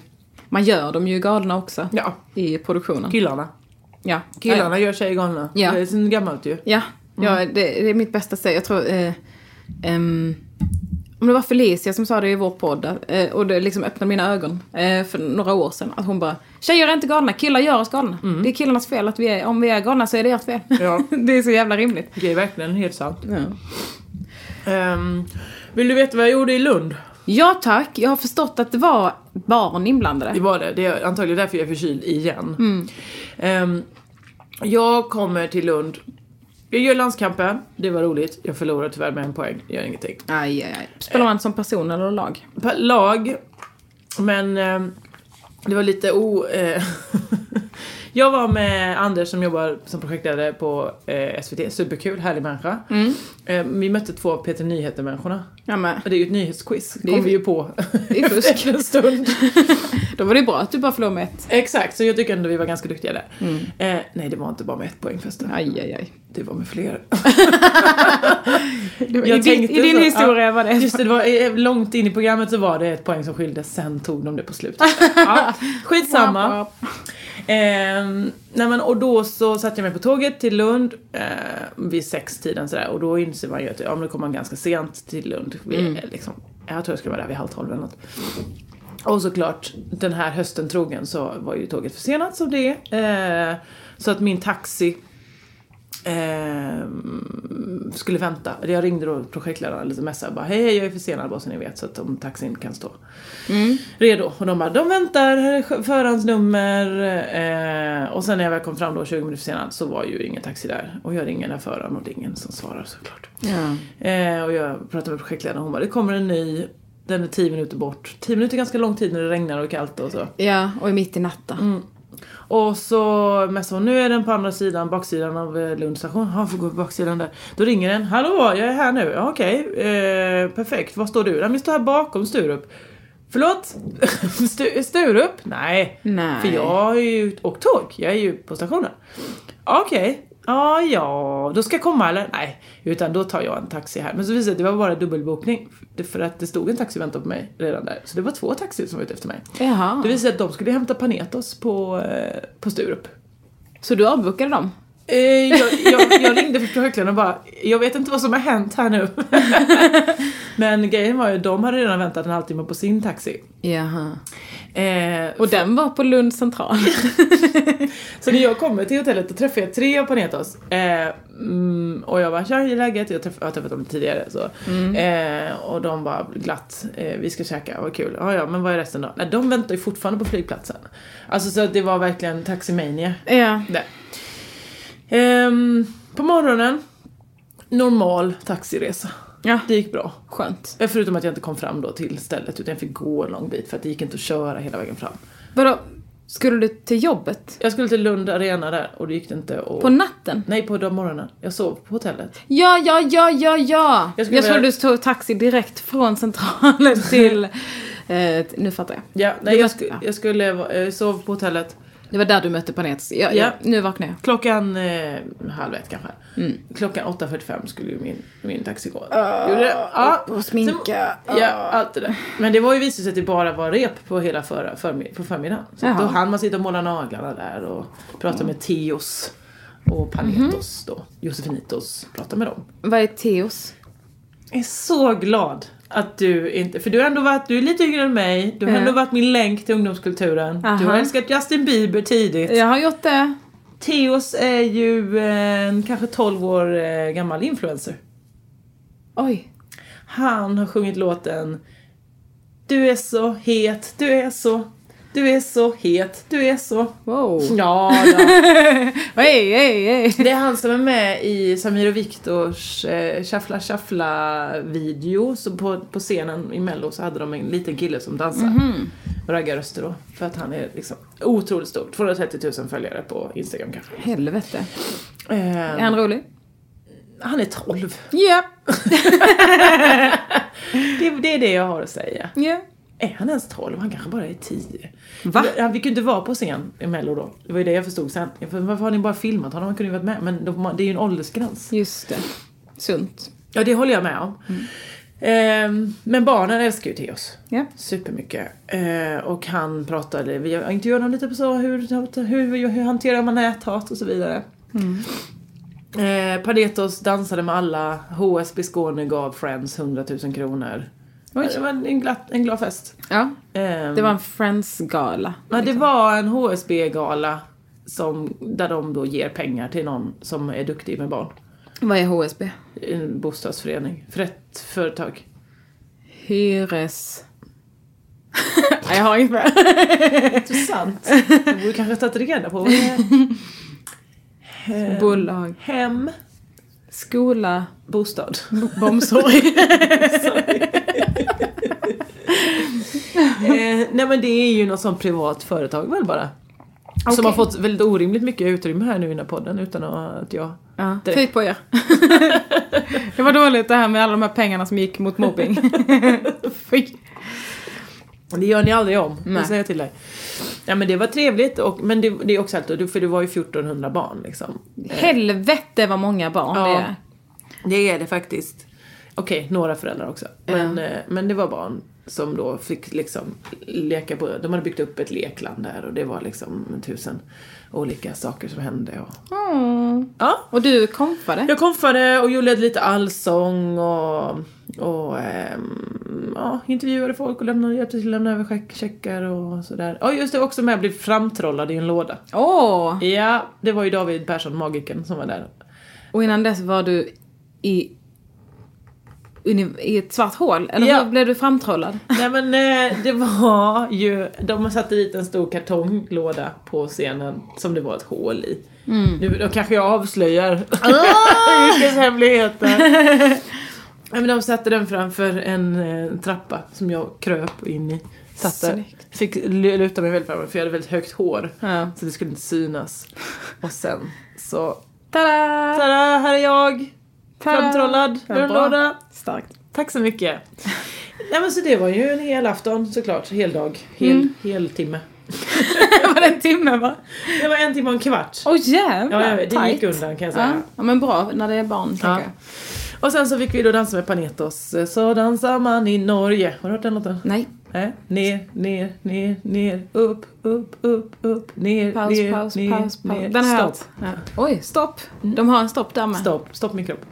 Speaker 2: man gör dem ju galna också
Speaker 1: Ja,
Speaker 2: i produktionen.
Speaker 1: killarna.
Speaker 2: Ja.
Speaker 1: Killarna gör sig galna.
Speaker 2: Ja.
Speaker 1: Det är så gammalt ju.
Speaker 2: Ja, ja det, det är mitt bästa sätt. Jag tror... Eh, ehm, om det var Felicia som sa det i vår podd eh, och det liksom öppnade mina ögon eh, för några år sedan. Att hon bara, tjejer är inte galna, killar gör oss galna. Det är killarnas fel att vi är, om vi är galna så är det ert fel.
Speaker 1: Ja.
Speaker 2: det är så jävla rimligt.
Speaker 1: Det är verkligen helt sant.
Speaker 2: Ja.
Speaker 1: Ehm, vill du veta vad jag gjorde i Lund?
Speaker 2: ja tack, jag har förstått att det var barn inblandade.
Speaker 1: Det var det. Det är antagligen därför jag är förkyld igen.
Speaker 2: Mm.
Speaker 1: Ehm, jag kommer till Lund. Jag gör landskampen. Det var roligt. Jag förlorar tyvärr med en poäng. Gör ingenting.
Speaker 2: Aj, aj, aj. Spelar man som person eller lag?
Speaker 1: Per lag. Men ehm, det var lite o... Eh, jag var med Anders som jobbar som projektledare på eh, SVT. Superkul, härlig människa.
Speaker 2: Mm.
Speaker 1: Ehm, vi mötte två Peter Nyheter-människorna.
Speaker 2: Ja men,
Speaker 1: Och Det är ju ett nyhetsquiz,
Speaker 2: är
Speaker 1: kom vi ju på
Speaker 2: det är fusk.
Speaker 1: efter en stund.
Speaker 2: Då var det bra att du bara förlorade med ett.
Speaker 1: Exakt, så jag tycker ändå vi var ganska duktiga där. Eh, nej, det var inte bara med ett poäng förresten.
Speaker 2: Mm. Aj, aj, aj.
Speaker 1: Det var med fler.
Speaker 2: Det var-
Speaker 1: Jag
Speaker 2: I din,
Speaker 1: tänkte
Speaker 2: i din
Speaker 1: så.
Speaker 2: historia
Speaker 1: Ja.
Speaker 2: var det
Speaker 1: Just det, det var, eh, långt in i programmet så var det ett poäng som skilde, sen tog de det på slutet. Ja, skitsamma. Ehm, nej men, och då så satte jag mig på tåget till Lund eh, vid sextiden sådär och då inser man ju att ja, men då kommer man ganska sent till Lund. Vi, eh, liksom, jag tror jag skulle vara där vid halv tolv eller något. Och såklart, den här hösten trogen så var ju tåget försenat som det är. Eh, så att min taxi eh, skulle vänta. Jag ringde då projektledaren lite messade bara hej hej jag är försenad bara så ni vet så att om taxin kan stå redo. Och de bara, de väntar, här är förarens nummer. Eh, och sen när jag väl kom fram då 20 minuter senare så var ju ingen taxi där. Och jag ringer den här föraren och det är ingen som svarar såklart. Eh, och jag pratade med projektledaren och hon bara, det kommer en ny. Den är 10 minuter bort. 10 minuter är ganska lång tid när det regnar och är kallt och så.
Speaker 2: Ja, och är mitt i natten.
Speaker 1: Och så messade hon, nu är den på andra sidan, baksidan av eh, Lunds station. Han får gå på baksidan där. Då ringer den, hallå jag är här nu, ja, okej, eh, perfekt, var står du? Nej men jag står här bakom Sturup. Förlåt? Stu- Sturup? Nej.
Speaker 2: Nej.
Speaker 1: För jag har ju åkt tåg, jag är ju på stationen. Ja, Okej, ja ja, då ska jag komma eller? Nej, utan då tar jag en taxi här. Men så visade det sig att det var bara dubbelbokning. För att det stod en taxi och väntade på mig redan där. Så det var två taxier som var ute efter mig.
Speaker 2: Jaha.
Speaker 1: Det visade sig att de skulle hämta Panetos på, eh, på Sturup.
Speaker 2: Så du avbokade dem?
Speaker 1: Eh, jag, jag, jag ringde för projektledaren och bara, jag vet inte vad som har hänt här nu. Men grejen var ju, de hade redan väntat en halvtimme på sin taxi.
Speaker 2: Jaha.
Speaker 1: Eh,
Speaker 2: Och den var på Lund central?
Speaker 1: så när jag kommer till hotellet då träffar jag tre av Panetos. Eh, mm, och jag bara, tja hur är läget? Jag, träff, jag har träffat dem tidigare. Så.
Speaker 2: Mm.
Speaker 1: Eh, och de bara glatt, eh, vi ska käka, vad kul. Ja ja, men vad är resten då? Nej, de väntar ju fortfarande på flygplatsen. Alltså så att det var verkligen taximania.
Speaker 2: ja.
Speaker 1: Nej. Ehm, på morgonen, normal taxiresa.
Speaker 2: Ja.
Speaker 1: Det gick bra.
Speaker 2: Skönt.
Speaker 1: Eh, Förutom att jag inte kom fram då till stället utan jag fick gå en lång bit för att det gick inte att köra hela vägen fram.
Speaker 2: Vadå? Skulle du till jobbet?
Speaker 1: Jag skulle till Lund Arena där och det gick det inte. Och...
Speaker 2: På natten?
Speaker 1: Nej, på de morgonen. Jag sov på hotellet.
Speaker 2: Ja, ja, ja, ja, ja!
Speaker 1: Jag
Speaker 2: Jag,
Speaker 1: skulle
Speaker 2: trodde
Speaker 1: vilja-
Speaker 2: du tog taxi direkt från centralen till... Eh, t- nu fattar jag.
Speaker 1: Ja, nej,
Speaker 2: Det
Speaker 1: jag,
Speaker 2: var-
Speaker 1: sku,
Speaker 2: ja.
Speaker 1: jag skulle eh, sova på hotellet
Speaker 2: Det var där du mötte Panetis. Ja,
Speaker 1: Ja.
Speaker 2: ja. Nu vaknar jag.
Speaker 1: klockan eh, halv ett kanske.
Speaker 2: Mm.
Speaker 1: Klockan 8.45 skulle ju min, min taxi gå. Gjorde det? Ja.
Speaker 2: Ah, Och Ah. sminka.
Speaker 1: Sen- Ja, allt det där. Men det var ju visade sig att det bara var rep på hela förra, förmid- på förmiddagen. Så
Speaker 2: Jaha. Mm.
Speaker 1: då hann man sitta och måla naglarna där och prata med Teos och Panetos
Speaker 2: Mhm.
Speaker 1: då. Josefinitos. Prata med dem.
Speaker 2: Vad är Teos?
Speaker 1: Jag är så glad att du inte, för du har ändå varit, du är lite yngre än mig, du har
Speaker 2: Ja.
Speaker 1: ändå varit min länk till ungdomskulturen. Du har
Speaker 2: Aha.
Speaker 1: älskat Justin Bieber tidigt.
Speaker 2: Jag har gjort det.
Speaker 1: Theos är ju en kanske 12 år eh, gammal influencer.
Speaker 2: Oj.
Speaker 1: Han har sjungit låten Du är så het, du är så, du är så het, du är så.
Speaker 2: Wow.
Speaker 1: Ja, ja.
Speaker 2: Ej, ej, ej.
Speaker 1: Det är han som är med i Samir och Viktors eh, Shuffla Shuffla video. Så på, på scenen i mello så hade de en liten kille som dansar. Och raggarröster då. För att han är liksom otroligt stor. 230 000 följare på Instagram kanske.
Speaker 2: Helvete. Är
Speaker 1: Eh,
Speaker 2: han rolig?
Speaker 1: han är 12.
Speaker 2: Ja.
Speaker 1: Det, det är det jag har att säga.
Speaker 2: Ja.
Speaker 1: Är han ens 12? Han kanske bara är 10.
Speaker 2: Va?
Speaker 1: Han fick ju inte vara på scen i mello då. Det var ju det jag förstod sen. Jag bara, Varför har ni bara filmat honom? Han kunde ju varit med. Men de- det är ju en åldersgräns.
Speaker 2: Just det. Sunt.
Speaker 1: Ja, det håller jag med om. Ehm, men barnen älskar ju Theoz.
Speaker 2: Mm. Ja.
Speaker 1: Supermycket. Eh, och han pratade, vi intervjuade honom lite på så, hur, hur, hur hanterar man näthat och så vidare.
Speaker 2: Mm.
Speaker 1: Eh, Panetos dansade med alla, HSB Skåne gav Friends 100 000 kronor. Det var en, glatt, en glad fest.
Speaker 2: Ja.
Speaker 1: Ehm,
Speaker 2: Det var en Friends-gala.
Speaker 1: Ja, det var en HSB-gala som, där de då ger pengar till någon som är duktig med barn.
Speaker 2: Vad är HSB?
Speaker 1: En bostadsförening, för ett företag.
Speaker 2: Hyres... Nej, jag har inget mer.
Speaker 1: Intressant. Du borde kanske tagit reda på vad det är.
Speaker 2: Bolag.
Speaker 1: Hem,
Speaker 2: Skola.
Speaker 1: bostad.
Speaker 2: Omsorg.
Speaker 1: eh, nej men det är ju något sånt privat företag väl bara. Som har fått väldigt orimligt mycket utrymme här nu i den här podden utan att jag...
Speaker 2: Ja.
Speaker 1: Direkt.
Speaker 2: Fy på er. det var dåligt det här med alla de här pengarna som gick mot mobbing. Fy.
Speaker 1: Det gör ni aldrig om, det
Speaker 2: Nej.
Speaker 1: säger jag till dig. Ja men det var trevligt, och, men det, det är också helt för det var ju 1400 barn liksom.
Speaker 2: Helvete vad många barn
Speaker 1: Ja.
Speaker 2: det är.
Speaker 1: Det är det faktiskt. Okej, några föräldrar också. Men, eh, men det var barn som då fick liksom leka på, de hade byggt upp ett lekland där och det var liksom tusen olika saker som hände. Och,
Speaker 2: Mm.
Speaker 1: ja,
Speaker 2: Och du kompade?
Speaker 1: jag konfade och gjorde lite allsång och, och ehm, ja, intervjuade folk och lämnade, hjälpte till att lämna över check, checkar och sådär. Ja just det, jag var också med och blev framtrollad i en låda.
Speaker 2: Åh!
Speaker 1: Ja, det var ju David Persson, magiken som var där.
Speaker 2: Och innan dess var du i, uni- i ett svart hål? Eller
Speaker 1: Ja.
Speaker 2: hur blev du framtrollad?
Speaker 1: Nej men eh, det var ju, de satte dit en stor kartonglåda på scenen som det var ett hål i.
Speaker 2: Mm.
Speaker 1: Nu då kanske jag avslöjar
Speaker 2: Ah!
Speaker 1: yrkeshemligheter. Nej, men de satte den framför en eh, trappa som jag kröp in i. Satte, fick lu- luta mig väldigt framåt för jag hade väldigt högt hår.
Speaker 2: Ja.
Speaker 1: Så det skulle inte synas. Och sen så,
Speaker 2: Tada!
Speaker 1: tada här är jag!
Speaker 2: Tada!
Speaker 1: Framtrollad
Speaker 2: Ja,
Speaker 1: ur en
Speaker 2: bra.
Speaker 1: låda.
Speaker 2: Starkt.
Speaker 1: Tack så mycket. Nej men så det var ju en hel afton såklart, hel dag, hel,
Speaker 2: Mm.
Speaker 1: hel timme.
Speaker 2: Det var en timme va?
Speaker 1: Det var en timme och en kvart.
Speaker 2: Åh jävlar!
Speaker 1: Ja, jag vet, det gick
Speaker 2: Tajt.
Speaker 1: undan kan jag säga.
Speaker 2: Ja. ja men bra när det är barn tänker
Speaker 1: Ja.
Speaker 2: jag.
Speaker 1: Och sen så fick vi då dansa med Panetos. Så dansar man i Norge. Har du hört den låten?
Speaker 2: Nej.
Speaker 1: Nej. Ner, ner, ner, ner, upp, upp, upp, upp, ner,
Speaker 2: Paus,
Speaker 1: ner,
Speaker 2: paus,
Speaker 1: ner,
Speaker 2: paus, paus.
Speaker 1: ner.
Speaker 2: Den har jag
Speaker 1: Stopp.
Speaker 2: hört. Ja. Oj, stopp. De har en stopp där med.
Speaker 1: Stopp, stopp min kropp.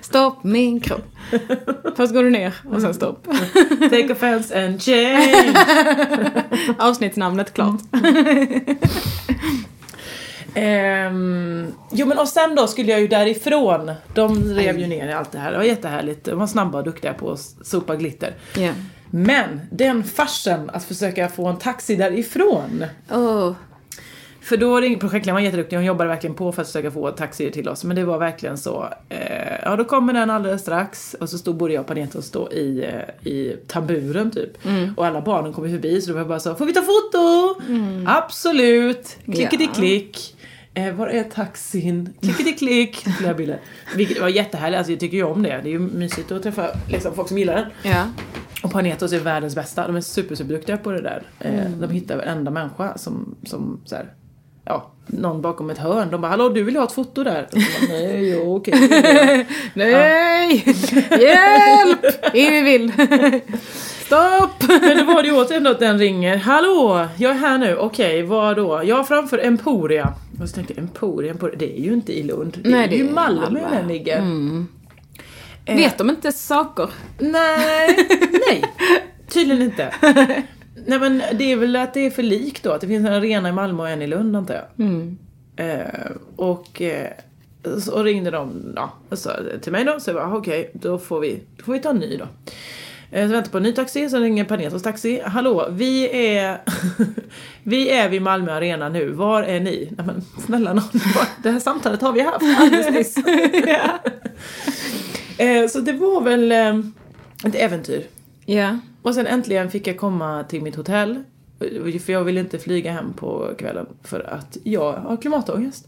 Speaker 2: Stopp min kropp. Först går du ner och sen stopp.
Speaker 1: Take offense and change.
Speaker 2: Avsnittsnamnet klart.
Speaker 1: Mm. Ehm, jo men och sen då skulle jag ju därifrån. De rev ju ner i allt det här. Det var jättehärligt. De var snabba och duktiga på att sopa glitter.
Speaker 2: Ja.
Speaker 1: Men den farsen att försöka få en taxi därifrån.
Speaker 2: Åh.
Speaker 1: För då ringde projektledaren, var jätteduktig, hon jobbade verkligen på för att försöka få taxier till oss. Men det var verkligen så, eh, ja då kommer den alldeles strax. Och så stod både jag och Paneta och stå i, eh, i tamburen typ. Och alla barnen kom ju förbi så det var bara så, får vi ta foto? Absolut! Klickety-klick. Eh, var är taxin? Klickety-klick. Flera bilder. Vilket var jättehärligt, alltså jag tycker ju om det. Det är ju mysigt att träffa liksom, folk som gillar den.
Speaker 2: Ja.
Speaker 1: Och Panetos är världens bästa. De är super, superduktiga på det där. Eh,
Speaker 2: Mm.
Speaker 1: De hittar varenda människa som, som så här, ja, någon bakom ett hörn. De bara, hallå du vill ju ha ett foto där. Och de bara, Nej, jo, okej. det vill jag."
Speaker 2: Nej! Hjälp! In i bild. Stopp!
Speaker 1: Men då var det ju återigen då att den ringer. Hallå, jag är här nu. Okej, vad då? Jag är framför Emporia. Och så tänkte jag, Emporia, Emporia, det är ju inte i Lund. Det är
Speaker 2: Nej, det
Speaker 1: ju
Speaker 2: är i
Speaker 1: Malmö
Speaker 2: Malmö. Mm.
Speaker 1: den ligger. Eh,
Speaker 2: Vet de inte saker?
Speaker 1: Nej, nej. Tydligen inte. Nej men det är väl att det är för likt då. Att det finns en arena i Malmö och en i Lund antar jag. Eh, och, eh, så- och ringde de ja, och sa till mig då. Så jag bara "Ah, okej, då, får vi, då får vi ta en ny då. Eh, Så väntar på en ny taxi, så ringer Panetos taxi. Hallå, vi är, vi är vid Malmö arena nu, var är ni? Nej men snälla någon, det här samtalet har vi haft alldeles nyss. Eh, Så det var väl eh, ett äventyr.
Speaker 2: Ja.
Speaker 1: Och sen äntligen fick jag komma till mitt hotell. För jag ville inte flyga hem på kvällen för att jag har klimatångest.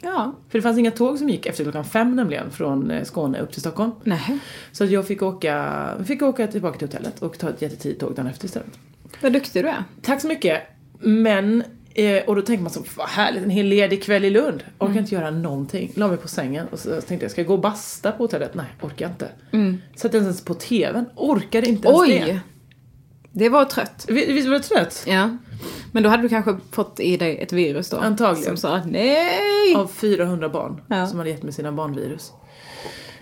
Speaker 2: Ja.
Speaker 1: För det fanns inga tåg som gick efter klockan fem nämligen från eh, Skåne upp till Stockholm.
Speaker 2: Nej.
Speaker 1: Så att jag fick åka, fick åka tillbaka till hotellet och ta ett jättetidigt tåg dagen efter istället.
Speaker 2: Vad duktig du är.
Speaker 1: Tack så mycket. Men, eh, och då tänker man så, vad härligt, en hel ledig kväll i Lund. Orkar
Speaker 2: Mm.
Speaker 1: inte göra någonting. La mig på sängen och så tänkte jag, ska jag gå och basta på hotellet? Nej, orkar inte. Mm. Satt ens på TVn, orkade inte ens
Speaker 2: Oj!
Speaker 1: det.
Speaker 2: Det var trött.
Speaker 1: Vi- Visst var du trött?
Speaker 2: Ja. Men då hade du kanske fått i dig ett virus då?
Speaker 1: Antagligen.
Speaker 2: Som sa nej!
Speaker 1: Av 400 barn
Speaker 2: Ja.
Speaker 1: som hade gett mig sina barnvirus.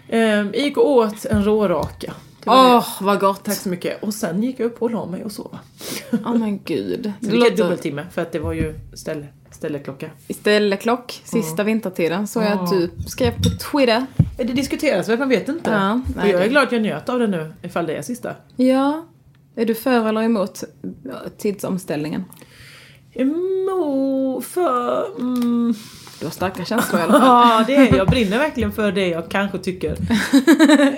Speaker 1: Ehm, jag gick och åt en råraka. Det var
Speaker 2: Åh,
Speaker 1: det.
Speaker 2: vad gott!
Speaker 1: Tack så mycket. Och sen gick jag upp och la mig och sov.
Speaker 2: Åh men gud.
Speaker 1: Det
Speaker 2: Det
Speaker 1: fick jag
Speaker 2: låter...
Speaker 1: dubbeltimme för att det var ju ställe, ställklocka.
Speaker 2: Istället klock, sista vintertiden, såg jag att du skrev på Twitter.
Speaker 1: Eh, Det diskuteras väl, man vet inte.
Speaker 2: Ja,
Speaker 1: och
Speaker 2: nej,
Speaker 1: jag är
Speaker 2: det-
Speaker 1: glad att jag njöt av det nu, ifall det är sista.
Speaker 2: Ja. Är du för eller emot ja, tidsomställningen?
Speaker 1: Emo för... Mm,
Speaker 2: Du har starka känslor i alla fall.
Speaker 1: ja, det är jag. brinner verkligen för det jag kanske tycker.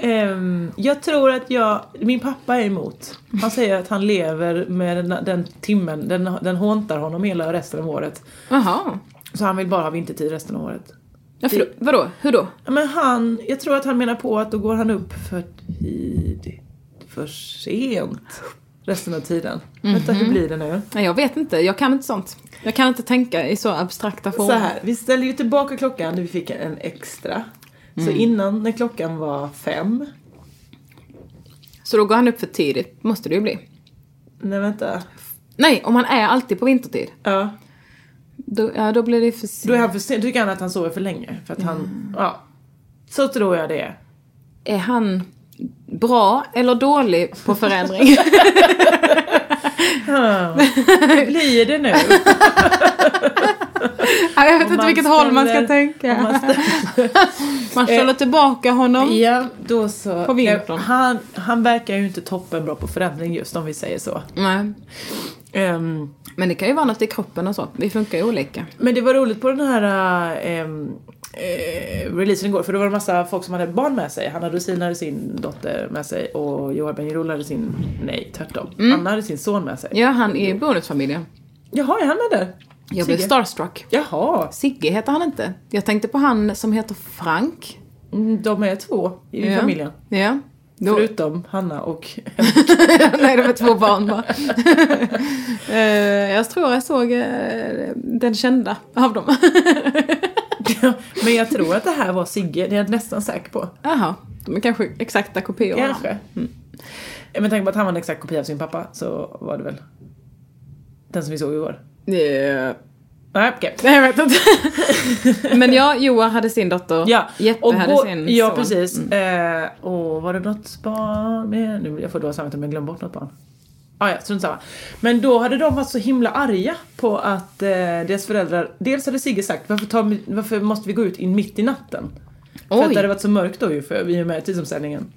Speaker 1: Ehm, jag tror att jag... Min pappa är emot. Han säger att han lever med den, den timmen, den, den håntar honom hela resten av året.
Speaker 2: Jaha.
Speaker 1: Så han vill bara ha vintertid resten av året.
Speaker 2: Ja, för, vadå? Hur då?
Speaker 1: Ja, Men han, jag tror att han menar på att då går han upp för tidigt, för sent resten av tiden. Vänta, hur blir det nu?
Speaker 2: Nej, jag vet inte. Jag kan inte sånt. Jag kan inte tänka i så abstrakta
Speaker 1: Så
Speaker 2: former.
Speaker 1: här, vi ställer ju tillbaka klockan när vi fick en extra. Så innan, när klockan var fem.
Speaker 2: Så då går han upp för tidigt, måste det ju bli.
Speaker 1: Nej vänta.
Speaker 2: Nej, om han är alltid på vintertid.
Speaker 1: Ja,
Speaker 2: Då, ja, då blir det för sent.
Speaker 1: då är han för sen, då tycker han att han sover för länge. För att han, ja. Så tror jag det är.
Speaker 2: Är han bra eller dålig på förändring?
Speaker 1: Hur blir det nu?
Speaker 2: Ja, jag vet
Speaker 1: Om
Speaker 2: inte
Speaker 1: man
Speaker 2: vilket håll man ska
Speaker 1: ställer-
Speaker 2: tänka.
Speaker 1: om man
Speaker 2: Man ställer tillbaka honom.
Speaker 1: Ja, då så. Eh,
Speaker 2: På vintern.
Speaker 1: Han, han verkar ju inte toppen bra på förändring just om vi säger så.
Speaker 2: Nej.
Speaker 1: Ehm,
Speaker 2: Men det kan ju vara något i kroppen och så. Vi funkar ju olika.
Speaker 1: Men det var roligt på den här äh, äh, releasen igår för då var det massa folk som hade barn med sig. Hanna Rosin hade sin dotter med sig och Johan Benjerol hade sin, nej tvärtom,
Speaker 2: Mm.
Speaker 1: Anna hade sin son med sig.
Speaker 2: Ja, han är i bonusfamiljen.
Speaker 1: Jaha, är han med där?
Speaker 2: Jag blev
Speaker 1: Sigge.
Speaker 2: starstruck.
Speaker 1: Jaha,
Speaker 2: Sigge heter han inte. Jag tänkte på han som heter Frank.
Speaker 1: mm, de är två i
Speaker 2: Ja.
Speaker 1: familjen.
Speaker 2: Ja. Då,
Speaker 1: Förutom Hanna och...
Speaker 2: nej, det var två barn bara. Eh, jag tror jag såg eh, den kända av dem.
Speaker 1: Men jag tror att det här var Sigge, det är jag nästan säker på.
Speaker 2: Jaha, de är kanske exakta kopior.
Speaker 1: Kanske. Mm. Med tanke på att han var en exakt kopia av sin pappa så var det väl den som vi såg igår.
Speaker 2: Eh,
Speaker 1: Nej, okej.
Speaker 2: Nej, jag vet inte. Men jag, Joa hade sin dotter.
Speaker 1: Ja,
Speaker 2: Jeppe
Speaker 1: och
Speaker 2: hade
Speaker 1: bo-
Speaker 2: sin
Speaker 1: Ja,
Speaker 2: son.
Speaker 1: precis. Eh, och var det något barn med? Nu, jag får då samvete om jag glömmer bort något barn. Ah, ja, strunt samma. Men då hade de varit så himla arga på att eh, deras föräldrar, dels hade Sigge sagt varför, tar, varför måste vi gå ut in mitt i natten? För att
Speaker 2: Oj.
Speaker 1: det hade varit så mörkt då ju för vi är med i tidsomställningen.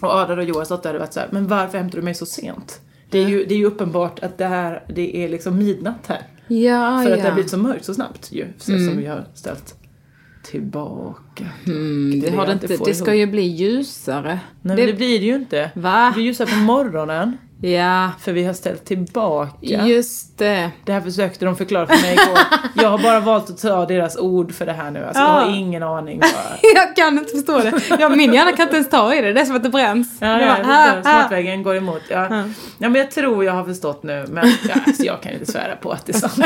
Speaker 1: Och Ada och Joas dotter hade varit så här, men varför hämtar du mig så sent? Det är, ju, det är ju uppenbart att det här, det är liksom midnatt här.
Speaker 2: Ja,
Speaker 1: För att det
Speaker 2: Ah, ja.
Speaker 1: har blivit så mörkt så snabbt ju. Så Som vi har ställt tillbaka.
Speaker 2: Mm,
Speaker 1: Det
Speaker 2: det,
Speaker 1: är det
Speaker 2: har det,
Speaker 1: jag inte
Speaker 2: inte,
Speaker 1: får
Speaker 2: det ska
Speaker 1: ihop.
Speaker 2: ju bli ljusare.
Speaker 1: Nej
Speaker 2: det,
Speaker 1: men det blir det ju inte.
Speaker 2: Va?
Speaker 1: Det blir ljusare på morgonen.
Speaker 2: Ja,
Speaker 1: För vi har ställt tillbaka.
Speaker 2: just det.
Speaker 1: Det här försökte de förklara för mig igår. Jag har bara valt att ta deras ord för det här nu. Alltså, Jag
Speaker 2: Ja.
Speaker 1: har ingen aning. Bara.
Speaker 2: Jag kan inte förstå det. Ja, min hjärna kan inte ens ta i det. Det är som att det bränns.
Speaker 1: Ja,
Speaker 2: Det
Speaker 1: ja,
Speaker 2: bara,
Speaker 1: det
Speaker 2: ah,
Speaker 1: är så.
Speaker 2: ah.
Speaker 1: Smartvägen går emot. Ja. Ja. men jag tror jag har förstått nu, men ja, alltså, jag kan ju inte svära på att det är sant.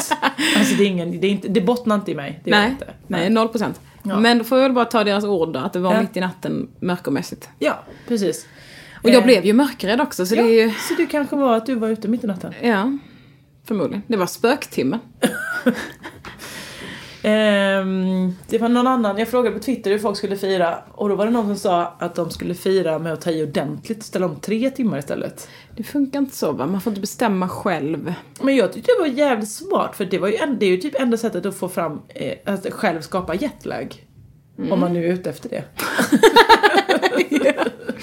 Speaker 1: Alltså, det, är ingen, det, är inte, det bottnar inte i mig. Det gör det
Speaker 2: Nej,
Speaker 1: inte.
Speaker 2: nej, noll procent.
Speaker 1: Ja.
Speaker 2: Men då får jag väl bara ta deras ord då, att det var
Speaker 1: Ja.
Speaker 2: mitt i natten mörkermässigt.
Speaker 1: Ja, precis.
Speaker 2: Och jag
Speaker 1: Eh,
Speaker 2: blev ju mörkrädd också, så det är ju...
Speaker 1: Så du kanske var att du var ute mitt i natten?
Speaker 2: Ja, förmodligen. Det var spöktimme.
Speaker 1: Ehm, det var någon annan, jag frågade på Twitter hur folk skulle fira och då var det någon som sa att de skulle fira med att ta i ordentligt, ställa om tre timmar istället.
Speaker 2: Det funkar inte så va? Man får inte bestämma själv.
Speaker 1: Men jag tyckte det var jävligt smart för det, var ju en, det är ju typ enda sättet att få fram, eh, att själv skapa jetlag. Om
Speaker 2: Mm.
Speaker 1: man nu är ute efter det.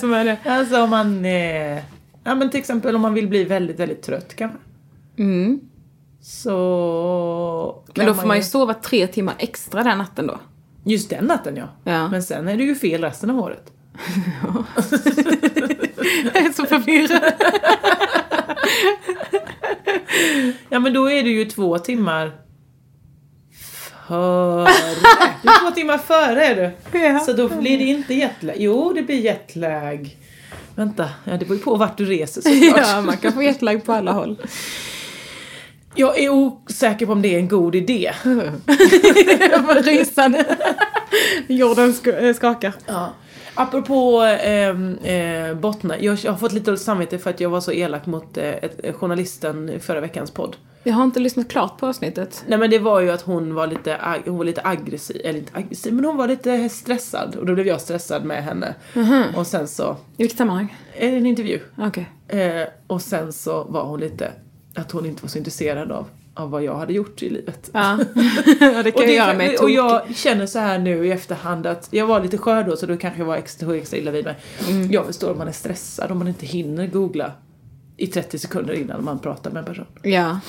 Speaker 1: Som är det. Alltså om man, eh, ja men till exempel om man vill bli väldigt, väldigt trött kanske.
Speaker 2: Mm.
Speaker 1: Så... kan
Speaker 2: Men då får man ju sova tre timmar extra den natten då.
Speaker 1: Just den natten ja.
Speaker 2: Ja.
Speaker 1: Men sen är det ju fel resten av året.
Speaker 2: Jag är så förvirrad.
Speaker 1: Ja men då är det ju två timmar före. Du är två timmar före är du. Så då blir det inte jetlag. Jo det blir jetlag. Vänta, ja, det beror ju på vart du reser såklart.
Speaker 2: Ja, man kan få jetlag på alla håll.
Speaker 1: Jag är osäker på om det är en god idé.
Speaker 2: Jag var rysande. Jorden sk- eh, skakar.
Speaker 1: Ja. Apropå ehm, eh, bottnar, jag, jag har fått lite dåligt samvete för att jag var så elak mot eh, ett, journalisten i förra veckans podd.
Speaker 2: Jag har inte lyssnat klart på avsnittet.
Speaker 1: Nej men det var ju att hon var lite, ag- hon var lite aggressiv, eller inte aggressiv, men hon var lite stressad och då blev jag stressad med henne.
Speaker 2: Mhm.
Speaker 1: Och sen så,
Speaker 2: I vilket sammanhang?
Speaker 1: är det en intervju?
Speaker 2: Okej.
Speaker 1: Eh, och sen så var hon lite, att hon inte var så intresserad av, av vad jag hade gjort i livet.
Speaker 2: Ja. det
Speaker 1: Och,
Speaker 2: kan jag
Speaker 1: det,
Speaker 2: göra mig
Speaker 1: och
Speaker 2: tokig.
Speaker 1: jag känner så här nu i efterhand att jag var lite skör då så då kanske jag var extra, tog extra illa vid mig. Jag förstår om man är stressad om man inte hinner googla i 30 sekunder innan man pratar med en person.
Speaker 2: Ja.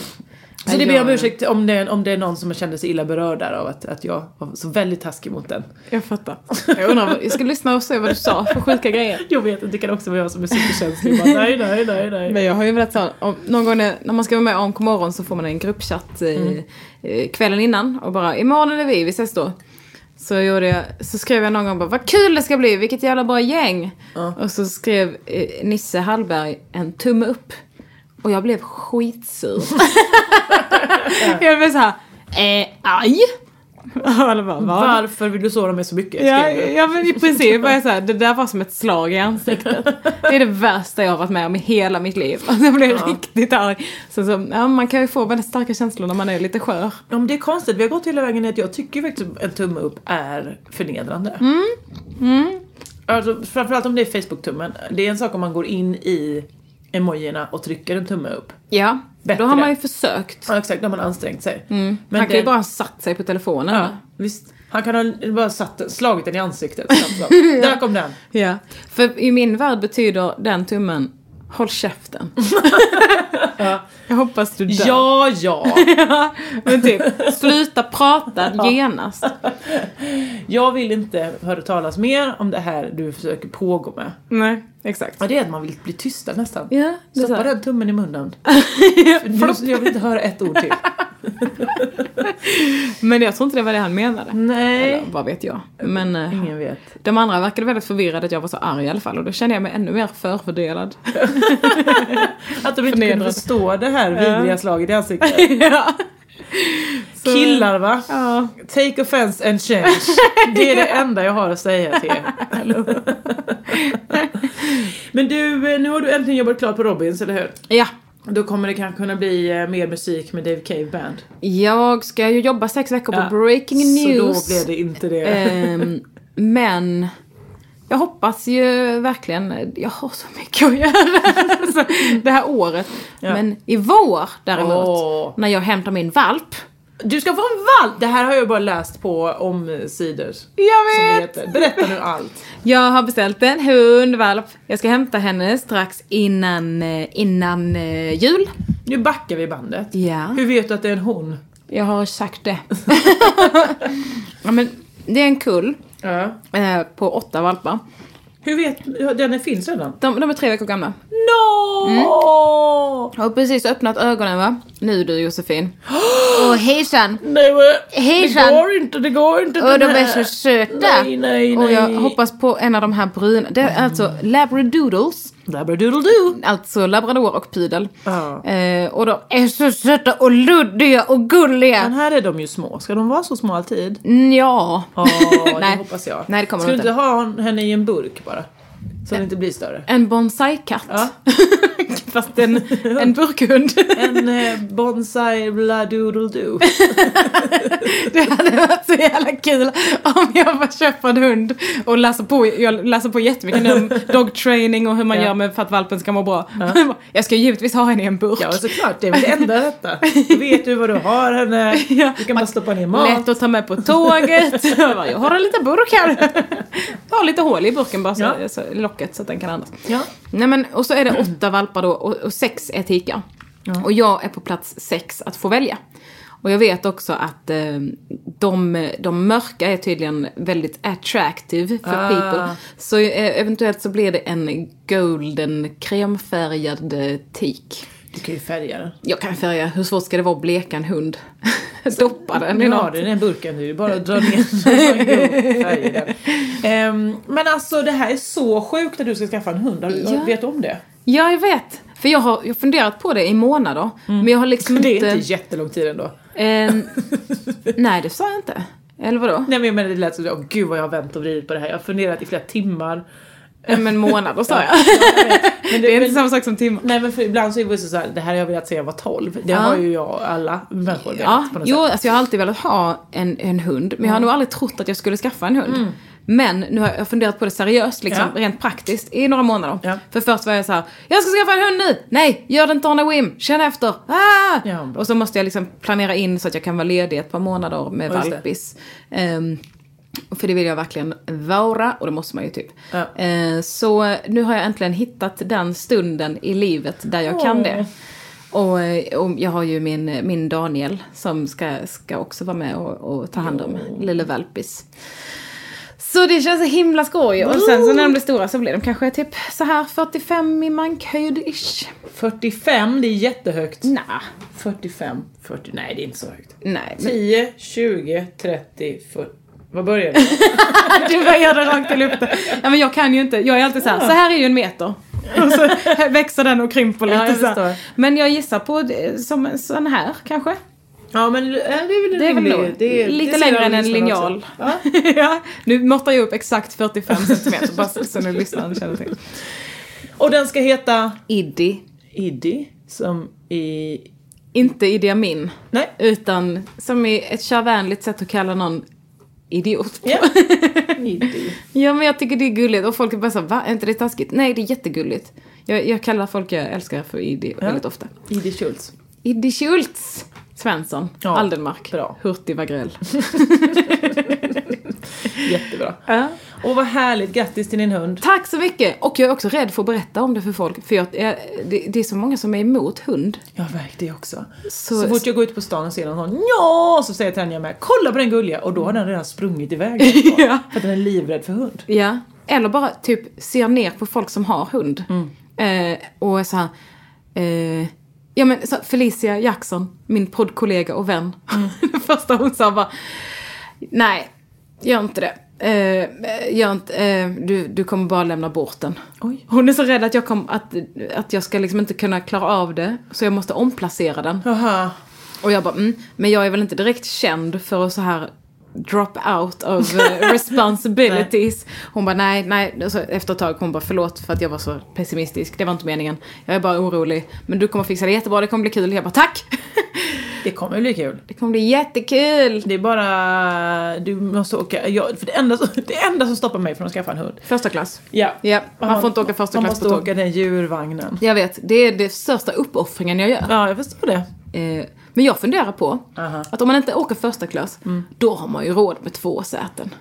Speaker 1: Så det ber jag om ursäkt om det, om det är någon som kände sig illa berörd där av att, att jag var så väldigt taskig mot den.
Speaker 2: Jag fattar. Jag undrar, vad- jag ska lyssna och se vad du sa för sjuka grejer.
Speaker 1: Jag vet inte, det kan också vara jag som är superkänslig. Bara, nej, nej, nej, nej.
Speaker 2: Men jag har ju velat säga, om, någon gång när, när man ska vara med om morgon så får man en gruppchatt eh, eh, kvällen innan och bara imorgon är det vi, vi ses då. Så, gjorde jag, så skrev jag någon gång bara vad kul det ska bli, vilket jävla bra gäng. Och så skrev eh, Nisse Hallberg en tumme upp. Och jag blev skitsur. jag blev såhär, eh, aj. Och alla bara, "Vad?"
Speaker 1: Varför vill du såra mig så mycket?
Speaker 2: Ja,
Speaker 1: skrev du.
Speaker 2: ja men i princip var jag såhär, det där var som ett slag i ansiktet. Det är det värsta jag har varit med om i hela mitt liv. Alltså jag blev riktigt arg. Så, så, ja, man kan ju få väldigt starka känslor när man är lite skör.
Speaker 1: Ja, men det är konstigt, vi har gått hela vägen ner att jag tycker faktiskt att en tumme upp är förnedrande.
Speaker 2: Mm.
Speaker 1: Alltså, framförallt om det är Facebook-tummen. Det är en sak om man går in i emojierna och trycker en tumme upp.
Speaker 2: Ja,
Speaker 1: Bättre.
Speaker 2: då har man ju försökt.
Speaker 1: Ja exakt, då har man ansträngt sig. Men
Speaker 2: han kan ju
Speaker 1: den-
Speaker 2: bara ha satt sig på telefonen.
Speaker 1: Ja, visst. Han kan ha bara satt, slagit den i ansiktet. snabbt, snabbt. Där kom den!
Speaker 2: Ja. För i min värld betyder den tummen, håll käften. Jag hoppas du dör.
Speaker 1: Ja, ja!
Speaker 2: Ja, men typ, sluta prata genast.
Speaker 1: Jag vill inte höra talas mer om det här du försöker pågå med.
Speaker 2: Nej, exakt.
Speaker 1: Ja, det är att man vill bli tystad nästan.
Speaker 2: Ja, det är så
Speaker 1: Stoppa
Speaker 2: här.
Speaker 1: den tummen i munnen. För nu, jag vill inte höra ett ord till.
Speaker 2: Men jag tror inte det var det han menade.
Speaker 1: Nej.
Speaker 2: Eller vad vet jag. Men eh,
Speaker 1: Ingen vet.
Speaker 2: de andra verkade väldigt förvirrade att jag var så arg i alla fall. Och då kände jag mig ännu mer förfördelad.
Speaker 1: Att de inte kunde
Speaker 2: Förnedrad.
Speaker 1: förstå det här vidriga slaget i ansiktet.
Speaker 2: ja. Så-
Speaker 1: Killar va?
Speaker 2: Ja.
Speaker 1: Take offense and change. Det är det enda jag har att säga till er. Men du, eh, nu har du äntligen jobbat klart på Robins, eller hur?
Speaker 2: ja.
Speaker 1: Då kommer det kanske kunna bli eh, mer musik med Dave Cave Band.
Speaker 2: Jag ska ju jobba sex veckor på Breaking News.
Speaker 1: Så då blev det inte det.
Speaker 2: Ehm, men jag hoppas ju verkligen, jag har så mycket att göra alltså, det här året. Men i vår däremot,
Speaker 1: Åh.
Speaker 2: när jag hämtar min valp.
Speaker 1: Du ska få en valp! Det här har jag bara läst på omsidor.
Speaker 2: Jag
Speaker 1: Som det heter. Berätta nu allt.
Speaker 2: Jag har beställt en hundvalp. Jag ska hämta henne strax innan, eh, innan eh, jul.
Speaker 1: Nu backar vi bandet.
Speaker 2: Ja.
Speaker 1: Hur vet du att det är en hon?
Speaker 2: Jag har sagt det. ja, men det är en kull
Speaker 1: Ja.
Speaker 2: eh, på åtta valpar.
Speaker 1: Hur vet du? Den finns redan.
Speaker 2: De, de är tre veckor gamla.
Speaker 1: No! Mm.
Speaker 2: Jag har precis öppnat ögonen va? Nu du Josefin. Och hejsan!
Speaker 1: Nej, men,
Speaker 2: Hejsan.
Speaker 1: Det går inte, det går inte.
Speaker 2: Och de
Speaker 1: den
Speaker 2: är
Speaker 1: här.
Speaker 2: så söta!
Speaker 1: Nej, nej, nej.
Speaker 2: Och jag hoppas på en av de här bruna. Det är alltså labradoodles.
Speaker 1: Labradoodledoo.
Speaker 2: Alltså labrador och pudel.
Speaker 1: Ja.
Speaker 2: Eh, och de är så söta och luddiga och
Speaker 1: Men
Speaker 2: gulliga.
Speaker 1: här är de ju små. Ska de vara så små alltid?
Speaker 2: Ja.
Speaker 1: Ja, det
Speaker 2: Nej.
Speaker 1: hoppas jag.
Speaker 2: Nej, det kommer
Speaker 1: Ska du inte
Speaker 2: de inte.
Speaker 1: ha hon- henne i en burk bara? Så den inte blir större.
Speaker 2: En bonsai-katt.
Speaker 1: Ja.
Speaker 2: Fast en, en burkhund.
Speaker 1: En eh, bonsai bladoodledoo.
Speaker 2: Det hade varit så jävla kul om jag bara köper en hund och läser på, jag läser på jättemycket nu om dog training och hur man
Speaker 1: Ja.
Speaker 2: gör med för att valpen ska må bra. Jag ska ju givetvis ha henne i en burk.
Speaker 1: Ja såklart, det är väl det enda rätta. Då vet du vad du har henne, du kan bara stoppa ner mat.
Speaker 2: Lätt att ta med på tåget. Jag bara, Jag har en liten burk här. Jag har lite hål i burken bara, så,
Speaker 1: Ja.
Speaker 2: så, locket så att den kan andas.
Speaker 1: Ja.
Speaker 2: Nej, men, och så är det åtta valpar då och, och sex är tikar. Och jag är på plats sex att få välja. Och jag vet också att eh, de, de mörka är tydligen väldigt attractive för
Speaker 1: Ah.
Speaker 2: people. Så eh, eventuellt så blir det en golden kremfärgad eh, tik.
Speaker 1: Du kan ju färga den.
Speaker 2: Jag kan färga, hur svårt ska det vara att bleka en hund? Doppa den i
Speaker 1: Nu
Speaker 2: något.
Speaker 1: har du den burken, det är ju bara att dra ner den. Jo, färg i den. Ehm, men alltså det här är så sjukt att du ska skaffa en hund, Har du-
Speaker 2: Ja.
Speaker 1: vet du om det?
Speaker 2: Ja, jag vet. För jag har jag har funderat på det i månader. Men jag har liksom
Speaker 1: Mm. Det är
Speaker 2: inte...
Speaker 1: inte jättelång tid ändå.
Speaker 2: ehm, nej, det sa jag inte. Eller vadå?
Speaker 1: Nej men jag menar det lät som åh gud vad jag har vänt och vridit på det här, jag har funderat i flera timmar.
Speaker 2: Nej, Eh, men månader sa jag.
Speaker 1: Men
Speaker 2: Det är inte
Speaker 1: men-
Speaker 2: samma sak som timmar.
Speaker 1: Nej men för ibland så är det så här, det här har jag velat säga jag var 12. Det
Speaker 2: Ja.
Speaker 1: har ju jag, alla människor velat
Speaker 2: Ja,
Speaker 1: på något
Speaker 2: jo,
Speaker 1: sätt.
Speaker 2: alltså jag har alltid velat ha en, en hund. Men jag har nog aldrig trott att jag skulle skaffa en hund. Men nu har jag funderat på det seriöst, liksom,
Speaker 1: Mm. Ja.
Speaker 2: rent praktiskt, i några månader.
Speaker 1: Ja.
Speaker 2: För först var jag så här: jag ska skaffa en hund nu! Nej, gör det inte on a whim! Känn efter! Ah!
Speaker 1: Ja, bra.
Speaker 2: och så måste jag liksom planera in så att jag kan vara ledig ett par månader med
Speaker 1: Ja, just det.
Speaker 2: valpis. Ehm, för det vill jag verkligen vara, och det måste man ju typ.
Speaker 1: Ja.
Speaker 2: Eh, så nu har jag äntligen hittat den stunden i livet där jag kan det. Och, eh, och jag har ju min, min Daniel som ska, ska också vara med och, och ta hand om lille valpis. Så det känns så himla skoj. Och sen så när de blir stora så blir de kanske typ så här 45 i mankhöjd-ish.
Speaker 1: 45, det är jättehögt.
Speaker 2: Nja,
Speaker 1: 45, 40, nej det är inte så högt.
Speaker 2: nej. Men
Speaker 1: 10, 20, 30, 40. Vad börjar det?
Speaker 2: du började rakt i luften. Ja, men jag kan ju inte. Jag är alltid så här, så här är ju en meter. Och så växer den och krymper lite
Speaker 1: Ja, jag
Speaker 2: så här.
Speaker 1: förstår.
Speaker 2: Men jag gissar på eh, som en sån här kanske.
Speaker 1: Ja men eh, det är väl en
Speaker 2: Det är väl
Speaker 1: rimlig-
Speaker 2: nog
Speaker 1: det är-
Speaker 2: lite
Speaker 1: det ser
Speaker 2: längre
Speaker 1: jag
Speaker 2: än en
Speaker 1: lyssnarna
Speaker 2: linjal.
Speaker 1: också.
Speaker 2: Ja. Nu måttar jag upp exakt 45 centimeter bara så- så nu lyssnaren känner till.
Speaker 1: Och den ska heta
Speaker 2: Iddi.
Speaker 1: Iddi, som i...
Speaker 2: Inte Idi Amin.
Speaker 1: Nej.
Speaker 2: Utan som är ett körvänligt sätt att kalla någon idiot.
Speaker 1: Ja. Iddi.
Speaker 2: Ja men jag tycker det är gulligt och folk är bara så här, va? Är inte det taskigt? Nej det är jättegulligt. Jag, jag kallar folk jag älskar för Idi väldigt ofta.
Speaker 1: Iddi Schultz.
Speaker 2: Iddi Schultz! Svensson.
Speaker 1: Ja,
Speaker 2: Aldenmark.
Speaker 1: bra.
Speaker 2: Hurtig Wagrell.
Speaker 1: Jättebra.
Speaker 2: Ja.
Speaker 1: Och vad härligt, grattis till din hund.
Speaker 2: Tack så mycket! Och jag är också rädd för att berätta om det för folk. För jag, jag, det, det är så många som är emot hund.
Speaker 1: Jag verkar det också. Så,
Speaker 2: Så-
Speaker 1: fort jag går ut på stan och ser någon sån ja, så säger Tanja med kolla på den gulliga och då har den redan sprungit iväg därifrån.
Speaker 2: Ja.
Speaker 1: För att den är livrädd för hund.
Speaker 2: Ja. Eller bara
Speaker 1: Mm.
Speaker 2: typ ser ner på folk som har hund. Eh, och är så här, eh, Ja men så, Felicia Jackson, min poddkollega och vän.
Speaker 1: Mm.
Speaker 2: Det första hon sa bara, nej, gör inte det. Eh, gör inte, eh, du, du kommer bara lämna bort den.
Speaker 1: Oj.
Speaker 2: Hon är så rädd att jag, kom, att, att jag ska liksom inte kunna klara av det, så jag måste omplacera den.
Speaker 1: Jaha.
Speaker 2: Och jag bara, mm, men jag är väl inte direkt känd för att så här drop out of eh, responsibilities. Hon bara nej, nej. Och Så efter ett tag hon bara förlåt för att jag var så pessimistisk. Det var inte meningen. Jag är bara orolig. Men du kommer fixa det jättebra, det kommer bli kul. Jag bara tack!
Speaker 1: Det kommer bli kul.
Speaker 2: Det kommer bli jättekul!
Speaker 1: Det är bara... Du måste åka... Jag, för det, enda, som- det enda som stoppar mig från att skaffa en hund.
Speaker 2: Första klass.
Speaker 1: Ja.
Speaker 2: Ja, man, får inte åka första
Speaker 1: Man
Speaker 2: klass på
Speaker 1: måste
Speaker 2: tåg.
Speaker 1: åka den djurvagnen.
Speaker 2: Jag vet, det är det största uppoffringen jag gör.
Speaker 1: Ja, jag förstår det.
Speaker 2: Eh, men jag funderar på
Speaker 1: Aha.
Speaker 2: att om man inte åker första klass, då har man ju råd med två säten.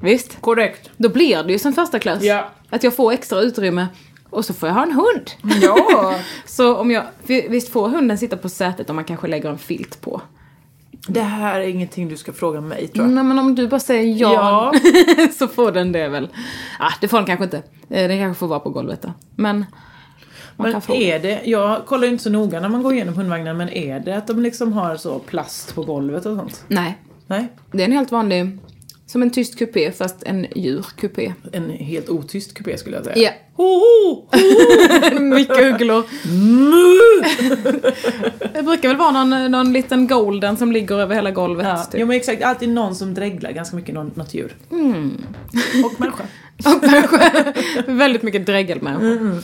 Speaker 2: Visst?
Speaker 1: Korrekt.
Speaker 2: Då blir det ju som första klass.
Speaker 1: Ja.
Speaker 2: Att jag får extra utrymme och så får jag ha en hund.
Speaker 1: Ja.
Speaker 2: så om jag, vi- visst får hunden sitta på sätet om man kanske lägger en filt på?
Speaker 1: Det här är ingenting du ska fråga mig tror jag.
Speaker 2: Nej men om du bara säger ja,
Speaker 1: Ja.
Speaker 2: så får den det väl. Ah, det får den kanske inte. Eh, Den kanske får vara på golvet då. Men man kan
Speaker 1: Men
Speaker 2: få.
Speaker 1: är det, jag kollar ju inte så noga när man går igenom hundvagnen, men är det att de liksom har så plast på golvet och sånt?
Speaker 2: Nej,
Speaker 1: Nej,
Speaker 2: det är en helt vanlig, som en tyst kupé fast en djurkupé.
Speaker 1: en helt otyst kupé skulle jag säga.
Speaker 2: Ja.
Speaker 1: Hoho!
Speaker 2: Mycket ugglor.
Speaker 1: Mm.
Speaker 2: det brukar väl vara någon, någon liten golden som ligger över hela golvet.
Speaker 1: Ja,
Speaker 2: typ.
Speaker 1: ja men exakt, alltid någon som dreglar ganska mycket, någon, något djur.
Speaker 2: Mm.
Speaker 1: Och människa.
Speaker 2: Och människor. Väldigt mycket dregelmänniskor.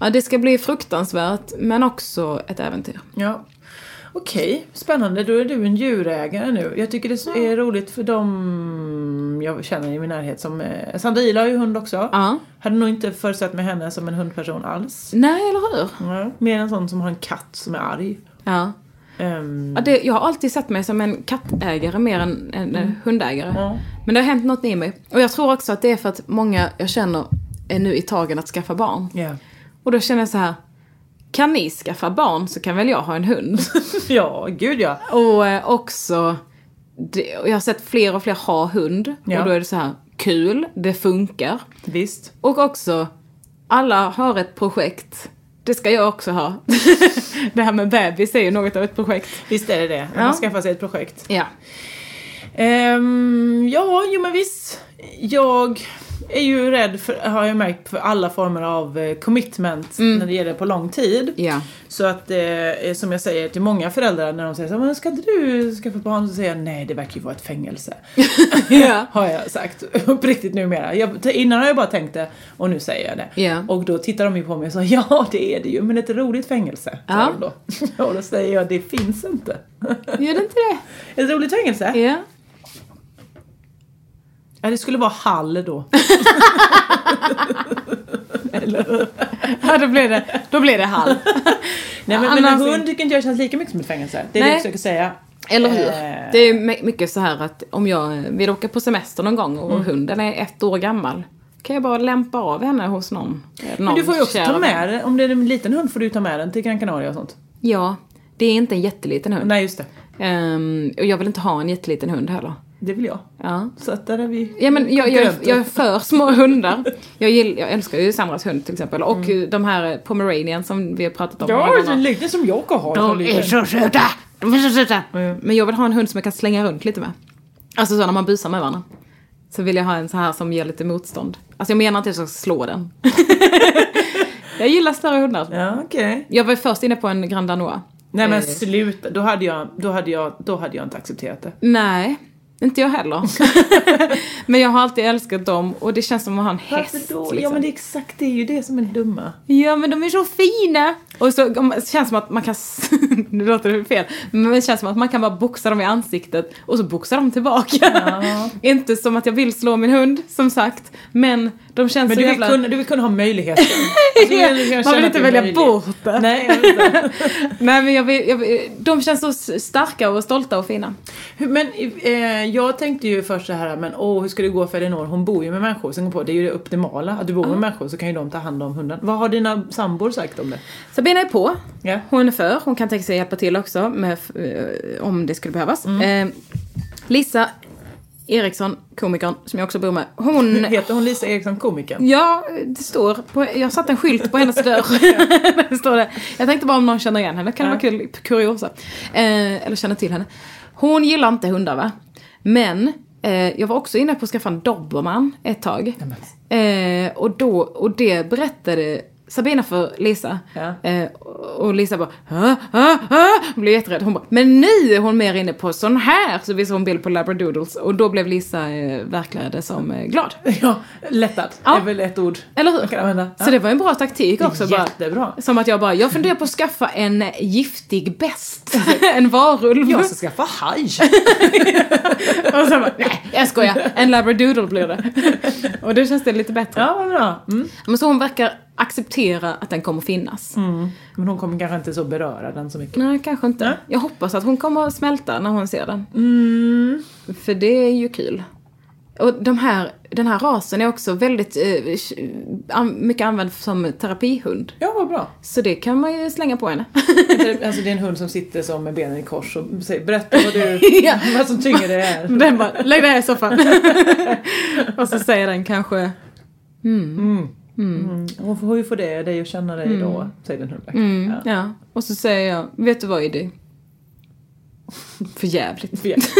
Speaker 2: Ja, det ska bli fruktansvärt, men också ett äventyr.
Speaker 1: Ja. Okej, spännande. Då är du en djurägare nu. Jag tycker det är roligt för dem jag känner i min närhet som... eh, Sandra Ila har ju hund också.
Speaker 2: Ja.
Speaker 1: Hade nog inte förutsett mig henne som en hundperson alls.
Speaker 2: Nej, eller hur?
Speaker 1: Ja. Mer en sån som har en katt som är arg.
Speaker 2: Ja.
Speaker 1: Ehm,
Speaker 2: Ja, det, jag har alltid sett mig som en kattägare mer än en eh, hundägare.
Speaker 1: Ja.
Speaker 2: Men det har hänt något i mig. Och jag tror också att det är för att många jag känner är nu i tagen att skaffa barn.
Speaker 1: ja.
Speaker 2: Och då känner jag så här, kan ni skaffa barn så kan väl jag ha en hund.
Speaker 1: ja, gud ja.
Speaker 2: Och eh, också, det, och jag har sett fler och fler ha hund.
Speaker 1: Ja.
Speaker 2: Och då är det så här, kul, det funkar.
Speaker 1: Visst.
Speaker 2: Och också, alla har ett projekt. Det ska jag också ha. det här med bebis är ju något av ett projekt.
Speaker 1: Visst är det det. Att
Speaker 2: Ja.
Speaker 1: Man skaffar sig ett projekt.
Speaker 2: Ja.
Speaker 1: Ehm, ja, jo men visst. Jag är ju rädd, för, har jag märkt, för alla former av eh, commitment när det gäller på lång tid.
Speaker 2: Mm. Ja.
Speaker 1: Så att eh, som jag säger till många föräldrar när de säger så här, "Men ska inte du skaffa barn? Så säger jag nej det verkar ju vara ett fängelse.
Speaker 2: Ja.
Speaker 1: har jag sagt på riktigt numera. Jag, innan har jag bara tänkt det och nu säger jag det.
Speaker 2: Ja.
Speaker 1: Och då tittar de ju på mig och sa ja det är det ju men ett roligt fängelse. sa
Speaker 2: Ja.
Speaker 1: de Då. Och då säger jag det finns inte.
Speaker 2: Gör det inte det?
Speaker 1: Ett roligt fängelse?
Speaker 2: Ja.
Speaker 1: Ja, det skulle vara hall då.
Speaker 2: Ja, då blev det, då blev det halv.
Speaker 1: Nej, men, men en
Speaker 2: Annars-
Speaker 1: hund tycker inte jag känns lika mycket som ett fängelse. Det är det
Speaker 2: Nej.
Speaker 1: jag försöker säga.
Speaker 2: Eller hur?
Speaker 1: Eh.
Speaker 2: Det är ju my- mycket så här att om jag eh, vill åka på semester någon gång och hunden är ett år gammal. Kan jag bara lämpa av henne hos någon. eh, någon
Speaker 1: Men du får ju också
Speaker 2: kär
Speaker 1: ta
Speaker 2: vän.
Speaker 1: med den. Om det är en liten hund får du ta med den till Gran Canaria och sånt.
Speaker 2: Ja, det är inte en jätteliten hund.
Speaker 1: Nej just det.
Speaker 2: Ehm, och jag vill inte ha en jätteliten hund heller.
Speaker 1: Det vill jag.
Speaker 2: Ja.
Speaker 1: Så att där är vi
Speaker 2: Ja, men jag, jag,
Speaker 1: konkurrenter.
Speaker 2: jag är för små hundar. Jag, gill, jag älskar ju Sandras hund till exempel. Och eh, de här eh, pomeranian som vi har pratat om. många
Speaker 1: Mm. Ja,
Speaker 2: gånger.
Speaker 1: den liten som jag har. som
Speaker 2: De
Speaker 1: liten.
Speaker 2: är så söta! De är så söta!
Speaker 1: Mm.
Speaker 2: Men jag vill ha en hund som jag kan slänga runt lite med. Alltså så när man busar med varandra. Så vill jag ha en så här som ger lite motstånd. Alltså jag menar inte att jag ska slå den. jag gillar större hundar.
Speaker 1: Ja, okej.
Speaker 2: Jag var ju först inne på en Grand Danois.
Speaker 1: Nej men
Speaker 2: Eh.
Speaker 1: sluta, då hade, jag, då, hade jag, då hade jag inte accepterat det.
Speaker 2: Nej, inte jag heller. men jag har alltid älskat dem och det känns som att ha en häst.
Speaker 1: Ja
Speaker 2: liksom.
Speaker 1: men det är exakt, det är ju det som är dumma.
Speaker 2: Ja men de är så fina! Och så om- det känns som att man kan, s- nu låter det fel, men det känns som att man kan bara boxa dem i ansiktet och så boxar de tillbaka. Inte som att jag vill slå min hund, som sagt, men de känns
Speaker 1: Men
Speaker 2: så
Speaker 1: du vill,
Speaker 2: jävla...
Speaker 1: kunna, du vill kunna ha möjligheten. Alltså, du vill- jag
Speaker 2: Man
Speaker 1: känner
Speaker 2: vill
Speaker 1: att det
Speaker 2: inte
Speaker 1: är
Speaker 2: välja
Speaker 1: möjligt.
Speaker 2: bort det.
Speaker 1: Nej, jag vet inte.
Speaker 2: Nej men jag vill, jag vill, de känns så s- starka och stolta och fina.
Speaker 1: Hur- men eh, jag tänkte ju först så här, men åh hur ska det gå för Elinor? Hon bor ju med människor. Sen kom jag på, det är ju det optimala. Att du bor
Speaker 2: Ah.
Speaker 1: med människor så kan ju de ta hand om hunden. Vad har dina sambor sagt om det?
Speaker 2: Sabina är på.
Speaker 1: Ja.
Speaker 2: Hon är för. Hon kan
Speaker 1: Mm.
Speaker 2: tänka sig hjälpa till också med, eh, om det skulle behövas. Eh, Lisa Eriksson, komikern, som jag också bor med, hon...
Speaker 1: Heter hon Lisa Eriksson komikern?
Speaker 2: Ja, det står på, jag satte en skylt på hennes dörr. det står det. Jag tänkte bara om någon känner igen henne, kan det vara kul, kuriosa. Eh, eller känner till henne. Hon gillar inte hundar va? Men eh, jag var också inne på att skaffa en dobermann ett tag. Eh, och, då, och det berättade Sabina för Lisa.
Speaker 1: Ja.
Speaker 2: Eh, och Lisa bara ah, ah, ah. Hon blev jätterädd. Hon bara, men nu är hon mer inne på sån här. Så visade hon bild på labradoodles. Och då blev Lisa eh, verkligen som eh, glad.
Speaker 1: Ja, lättad.
Speaker 2: Ja.
Speaker 1: Det är väl ett ord.
Speaker 2: Eller hur?
Speaker 1: Man kan använda.
Speaker 2: Så det var en bra taktik också. Bara,
Speaker 1: Jättebra.
Speaker 2: som att jag bara, jag funderar på att skaffa en giftig bäst. en varulv.
Speaker 1: Jag ska skaffa haj.
Speaker 2: Och så bara, nej jag skojar. En labradoodle blir det. Och då känns det lite bättre.
Speaker 1: Ja, vad bra. Mm.
Speaker 2: Men så hon verkar acceptera att den kommer finnas.
Speaker 1: Men hon kommer kanske inte så beröra den så mycket.
Speaker 2: Nej, kanske inte.
Speaker 1: Nej.
Speaker 2: Jag hoppas att hon kommer att smälta när hon ser den.
Speaker 1: Mm.
Speaker 2: För det är ju kul. Och de här, den här rasen är också väldigt eh, an- mycket använd som terapihund.
Speaker 1: Ja, vad bra.
Speaker 2: Så det kan man ju slänga på henne.
Speaker 1: Alltså det är en hund som sitter som med benen i kors och säger berätta vad du,
Speaker 2: Ja.
Speaker 1: vad som tynger dig här.
Speaker 2: Den bara, lägg dig här i soffan. och så säger den kanske,
Speaker 1: Hon får ju få det, dig att känna dig då, säger den hundläkaren.
Speaker 2: mm,
Speaker 1: Ja.
Speaker 2: ja. Och så säger jag, vet du vad Iddy? För jävligt.
Speaker 1: För jävligt.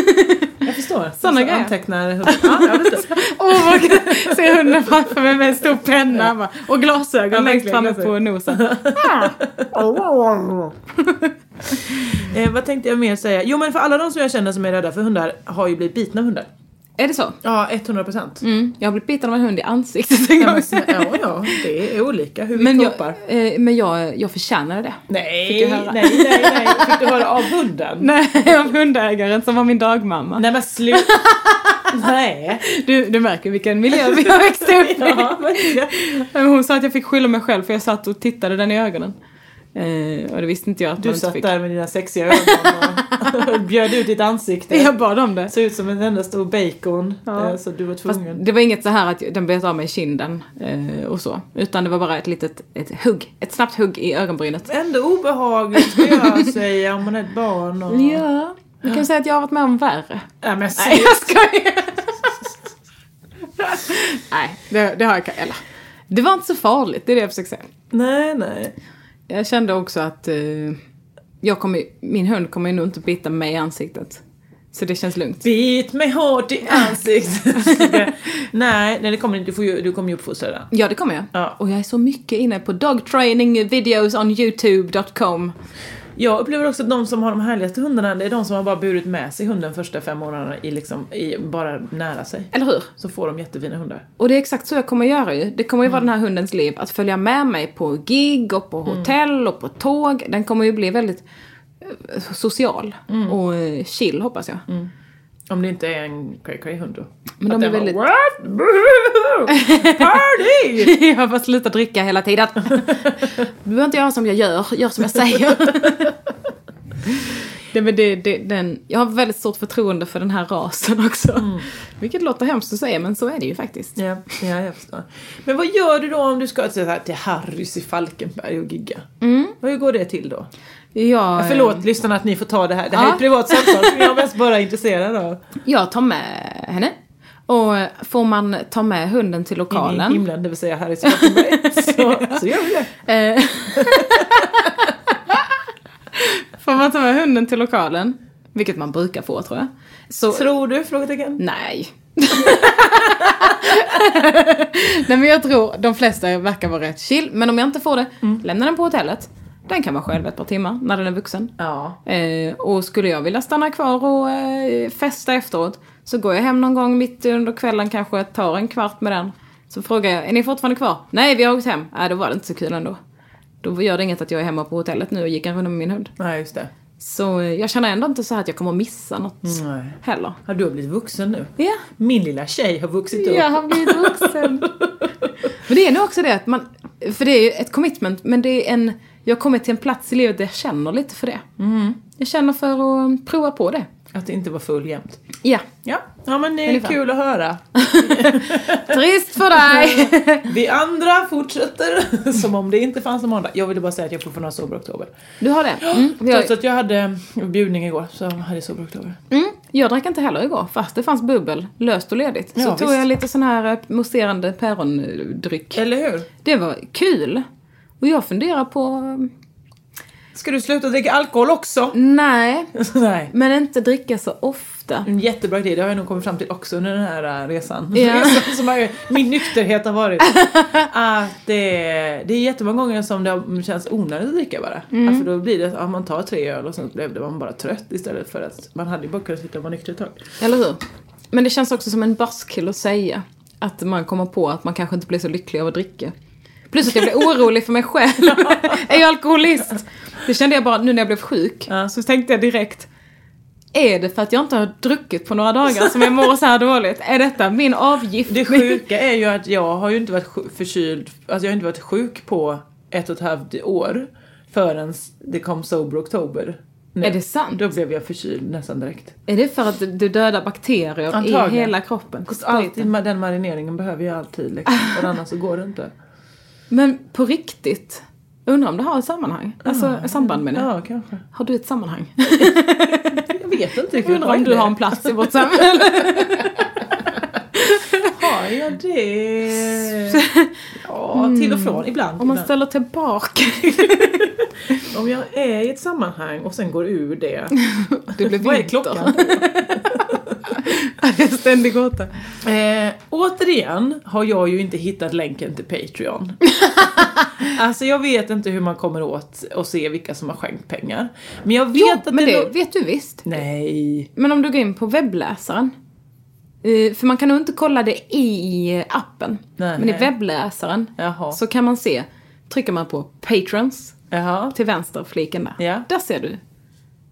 Speaker 1: Jag förstår.
Speaker 2: Såna
Speaker 1: Så
Speaker 2: grejer.
Speaker 1: Antecknar hunden. Ja, jag vet inte.
Speaker 2: Åh, oh, vad kul. ser hunden framför mig med en stor penna bara,
Speaker 1: Ja,
Speaker 2: och glasögon längst
Speaker 1: verkligen,
Speaker 2: framme på
Speaker 1: glasögon.
Speaker 2: nosen.
Speaker 1: eh, vad tänkte jag mer säga? Jo men för alla de som jag känner som är rädda för hundar har ju blivit bitna av hundar.
Speaker 2: Är det så?
Speaker 1: Ja, 100 procent.
Speaker 2: Mm. Jag har blivit biten av en hund i ansiktet en
Speaker 1: Ja,
Speaker 2: gång.
Speaker 1: men- ja, ja, det är olika hur vi
Speaker 2: Men, jag,
Speaker 1: kroppar.
Speaker 2: eh, men jag, jag förtjänade det. Fick
Speaker 1: Nej,
Speaker 2: jag
Speaker 1: nej,
Speaker 2: höra?
Speaker 1: nej, nej. Fick du höra av hunden?
Speaker 2: Nej, av hundägaren som var min dagmamma.
Speaker 1: Nej men sluta. nej.
Speaker 2: Du, du märker vilken miljö vi har växt upp i.
Speaker 1: Ja, verkligen.
Speaker 2: Men Hon sa att jag fick skylla mig själv för jag satt och tittade den i ögonen. Eh, och det visste inte jag att
Speaker 1: Du
Speaker 2: man inte
Speaker 1: satt
Speaker 2: fick.
Speaker 1: där med dina sexiga ögon och bjöd ut ditt ansikte.
Speaker 2: Jag bad om det.
Speaker 1: Såg ut som en enda stor bacon.
Speaker 2: Ja.
Speaker 1: eh, Så du var
Speaker 2: Fast
Speaker 1: tvungen.
Speaker 2: det var inget så här att den bet av mig i kinden eh, och så. Utan det var bara ett litet ett hugg. Ett snabbt hugg i ögonbrynet.
Speaker 1: Ändå obehagligt ska jag säga om man är ett barn och...
Speaker 2: Ja. Du kan säga att jag har varit med om värre.
Speaker 1: Nej men säg
Speaker 2: Nej, jag skojar! Nej, det, det har jag ka- Eller, det var inte så farligt, det är det jag försöker säga.
Speaker 1: Nej nej.
Speaker 2: Jag kände också att eh, jag kommer, min hund kommer ju nog inte bita mig i ansiktet. Så det känns lugnt.
Speaker 1: Bit mig hårt i ansiktet. nej, nej det kommer inte. Du, får ju, du kommer ju uppfostra den.
Speaker 2: Ja, det kommer jag.
Speaker 1: Ja.
Speaker 2: Och jag är så mycket inne på dog training videos on youtube.com.
Speaker 1: Jag upplever också att de som har de härligaste hundarna det är de som har bara burit med sig hunden första fem månaderna i liksom, i, bara nära sig.
Speaker 2: Eller hur?
Speaker 1: Så får de jättefina hundar.
Speaker 2: Och det är exakt så jag kommer göra ju. Det kommer ju vara den här hundens liv. Att följa med mig på gig och på hotell och på tåg. Den kommer ju bli väldigt eh, social och eh, chill hoppas jag.
Speaker 1: Om det inte är en cray cray hund då.
Speaker 2: Men de
Speaker 1: Att
Speaker 2: är
Speaker 1: den
Speaker 2: väldigt-
Speaker 1: Bara, What? Party!
Speaker 2: jag bara sluta dricka hela tiden. Du behöver inte göra som jag gör, gör som jag säger. Nej, men det, det, den, jag har väldigt stort förtroende för den här rasen också. Vilket låter hemskt att säga men så är det ju faktiskt.
Speaker 1: Ja, ja, jag förstår. Men vad gör du då om du ska till, så här, till Harrys i Falkenberg och gigga?
Speaker 2: Mm.
Speaker 1: Hur går det till då?
Speaker 2: Jag,
Speaker 1: Förlåt lyssnarna att ni får ta det här. Det här
Speaker 2: Ehm. Ja.
Speaker 1: är ett privat samtal som jag är mest bara är intresserad av.
Speaker 2: jag tar med henne. Och får man ta med hunden till
Speaker 1: In i
Speaker 2: lokalen.
Speaker 1: himlen, det vill säga Harrys i Falkenberg. så, så gör vi det.
Speaker 2: Eh, får man ta med hunden till lokalen, vilket man brukar få tror jag. Så,
Speaker 1: Tror du? Frågetecken.
Speaker 2: Nej. Nej men jag tror de flesta verkar vara rätt chill. Men om jag inte får det, lämna den på hotellet. Den kan vara själv ett par timmar när den är vuxen.
Speaker 1: Ja.
Speaker 2: Eh, och skulle jag vilja stanna kvar och eh, festa efteråt så går jag hem någon gång mitt under kvällen kanske, tar en kvart med den. Så frågar jag, är ni fortfarande kvar? Nej, vi har åkt hem. Nej, då var det inte så kul ändå. Då gör det inget att jag är hemma på hotellet nu och gick en runda med min hund.
Speaker 1: Nej, just det.
Speaker 2: Så eh, jag känner ändå inte så här att jag kommer missa något
Speaker 1: Nej.
Speaker 2: heller.
Speaker 1: Har du blivit vuxen nu?
Speaker 2: Ja,
Speaker 1: Min lilla tjej har vuxit upp.
Speaker 2: jag har blivit vuxen. men det är nog också det att man, för det är ju ett commitment, men det är en, jag har kommit till en plats i livet där jag känner lite för det. Jag känner för att prova på det.
Speaker 1: Att inte vara full jämt.
Speaker 2: Ja,
Speaker 1: Ja, ja men det är
Speaker 2: Ungefär.
Speaker 1: kul att höra.
Speaker 2: trist för dig!
Speaker 1: Vi andra fortsätter som om det inte fanns någon måndag. Jag ville bara säga att jag fortfarande har sober oktober.
Speaker 2: Du har det? Mm. Vi har,
Speaker 1: Trots att jag hade bjudning igår så hade jag sober oktober.
Speaker 2: mm. Jag drack inte heller igår, fast det fanns bubbel, löst och ledigt. så
Speaker 1: Ja,
Speaker 2: tog
Speaker 1: visst.
Speaker 2: jag lite sån här eh, mousserande pärondryck.
Speaker 1: Eller hur?
Speaker 2: Det var kul. Och jag funderar på...
Speaker 1: Ska du sluta dricka alkohol också?
Speaker 2: Nej,
Speaker 1: Nej.
Speaker 2: men inte dricka så ofta.
Speaker 1: En jättebra idé, det har jag nog kommit fram till också under den här äh, resan.
Speaker 2: Ja.
Speaker 1: resan som har, ju- min nykterhet har varit. Att det, det är jättemånga gånger som det har- känns onödigt att dricka bara. Alltså då blir det, ja, man tar tre öl och sen blev det man bara trött istället för att man hade ju bara kunnat sitta och vara nykter ett tag.
Speaker 2: Eller hur? Men det känns också som en buzzkill att säga. Att man kommer på att man kanske inte blir så lycklig av att dricka. Plus att jag blev orolig för mig själv. är jag alkoholist? Det kände jag bara nu när jag blev sjuk.
Speaker 1: Ja.
Speaker 2: Så tänkte jag direkt. Är det för att jag inte har druckit på några dagar som jag mår så här dåligt? Är detta min avgift?
Speaker 1: Det sjuka är ju att jag har ju inte varit sju- förkyld, alltså jag har inte varit sjuk på ett och ett halvt år förrän det kom sober oktober. Nu.
Speaker 2: Är det sant?
Speaker 1: Då blev jag förkyld nästan direkt.
Speaker 2: Är det för att du dödar bakterier i
Speaker 1: Antagligen.
Speaker 2: hela kroppen?
Speaker 1: Och Alltid, ma- den marineringen behöver jag alltid liksom. Och annars så går det inte.
Speaker 2: Men på riktigt. Undrar om det har ett sammanhang? Alltså ett samband med det.
Speaker 1: Ja, kanske.
Speaker 2: Har du ett sammanhang?
Speaker 1: Jag vet inte riktigt.
Speaker 2: Undrar
Speaker 1: vad
Speaker 2: om
Speaker 1: är
Speaker 2: du
Speaker 1: det?
Speaker 2: har en plats i vårt samhälle?
Speaker 1: Har jag det? Mm. Ja, till och från. Ibland.
Speaker 2: Om man
Speaker 1: ibland.
Speaker 2: ställer tillbaka.
Speaker 1: om jag är i ett sammanhang och sen går ur det.
Speaker 2: Det blir
Speaker 1: Vad är klockan?
Speaker 2: Det är en ständig gåta.
Speaker 1: Eh, återigen har jag ju inte hittat länken till Patreon. alltså jag vet inte hur man kommer åt och se vilka som har skänkt pengar. Men jag vet
Speaker 2: Jo,
Speaker 1: att
Speaker 2: men
Speaker 1: det...
Speaker 2: det
Speaker 1: lå-
Speaker 2: vet du visst.
Speaker 1: Nej.
Speaker 2: Men om du går in på webbläsaren. eh, För man kan nog inte kolla det i appen.
Speaker 1: Nej.
Speaker 2: Men i webbläsaren
Speaker 1: Jaha.
Speaker 2: så kan man se. Trycker man på patrons
Speaker 1: Jaha.
Speaker 2: till vänsterfliken där.
Speaker 1: Ja.
Speaker 2: Där ser du.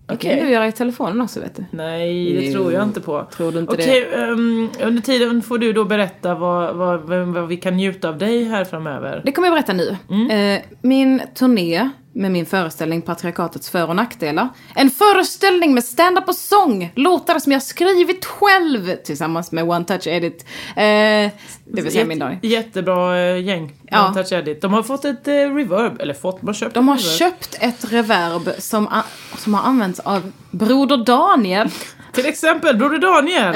Speaker 2: Det
Speaker 1: Okej.
Speaker 2: kan du göra i telefonen också vet du.
Speaker 1: Nej, det
Speaker 2: Jo,
Speaker 1: tror jag inte på.
Speaker 2: tror du inte
Speaker 1: Okej, ehm, under tiden får du då berätta vad, vad, vem- vad vi kan njuta av dig här framöver.
Speaker 2: Det kommer jag berätta nu. Eh, min turné med min föreställning Patriarkatets för och nackdelar. En föreställning med stand-up och sång. Låtar som jag skrivit själv tillsammans med One Touch Edit. Eh, det vill säga min dag.
Speaker 1: Jättebra eh, gäng.
Speaker 2: Ja.
Speaker 1: Ja. Touch Edit. De har fått ett eh, reverb, eller fått, man köpt
Speaker 2: De har
Speaker 1: ett reverb.
Speaker 2: köpt ett reverb som, a- som har använts av Broder Daniel.
Speaker 1: Till exempel Broder Daniel.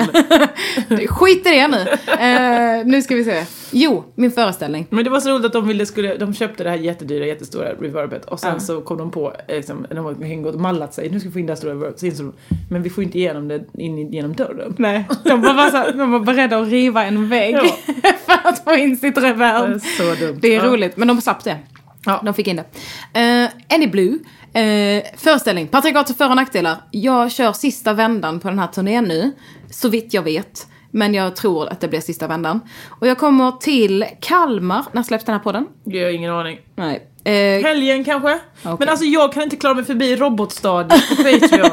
Speaker 2: Skit i det nu. Eh, nu ska vi se. Jo, min föreställning.
Speaker 1: Men det var så roligt att de, ville, skulle, de köpte det här jättedyra, jättestora reverbet och sen så kom de på, eh, liksom, de har hängt och mallat sig, nu ska vi få in det här stora reverbet. Så insåg de, men vi får inte igenom det in i- genom dörren.
Speaker 2: Nej, de var, bara så, här- de var beredda att riva en vägg
Speaker 1: Ja.
Speaker 2: för att få in sitt reverb.
Speaker 1: Det är så dumt.
Speaker 2: Det
Speaker 1: Ja.
Speaker 2: är roligt, men de slapp det.
Speaker 1: Ja.
Speaker 2: De fick in det. Uh, Annie Blue. eh, föreställning. Patriarkat och för och nackdelar. Jag kör sista vändan på den här turnén nu. Så vitt jag vet. Men jag tror att det blir sista vändan. Och jag kommer till Kalmar. När släpps den här podden?
Speaker 1: Jag har ingen aning.
Speaker 2: Nej. Eh,
Speaker 1: Helgen kanske?
Speaker 2: Okej.
Speaker 1: Men alltså jag kan inte klara mig förbi robotstadiet på Patreon.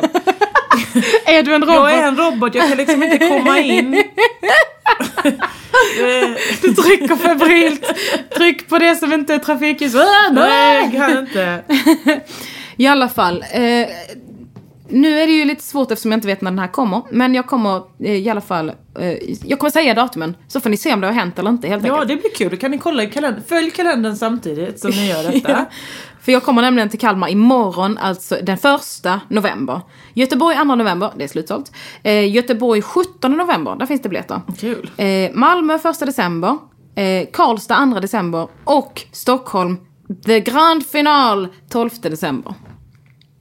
Speaker 2: är du en robot?
Speaker 1: jag är en robot, jag kan liksom inte komma in. Eh,
Speaker 2: Du trycker febrilt. Tryck på det som inte är trafikljus. Ah,
Speaker 1: Nej, jag kan inte.
Speaker 2: I alla fall. Eh, nu är det ju lite svårt eftersom jag inte vet när den här kommer. Men jag kommer eh, i alla fall... Eh, jag kommer säga datumen. Så får ni se om det har hänt eller inte helt
Speaker 1: Ja,
Speaker 2: enkelt.
Speaker 1: det blir kul. Då kan ni kolla i kalendern. Följ kalendern samtidigt som ni gör detta.
Speaker 2: För jag kommer nämligen till Kalmar imorgon, alltså den första november. Göteborg 2 november, det är slutsålt. Eh, Göteborg 17 november, där finns det biljetter.
Speaker 1: Kul.
Speaker 2: Eh, Malmö 1 december. Eh, Karlstad 2 december. Och Stockholm, the grand final, 12 december.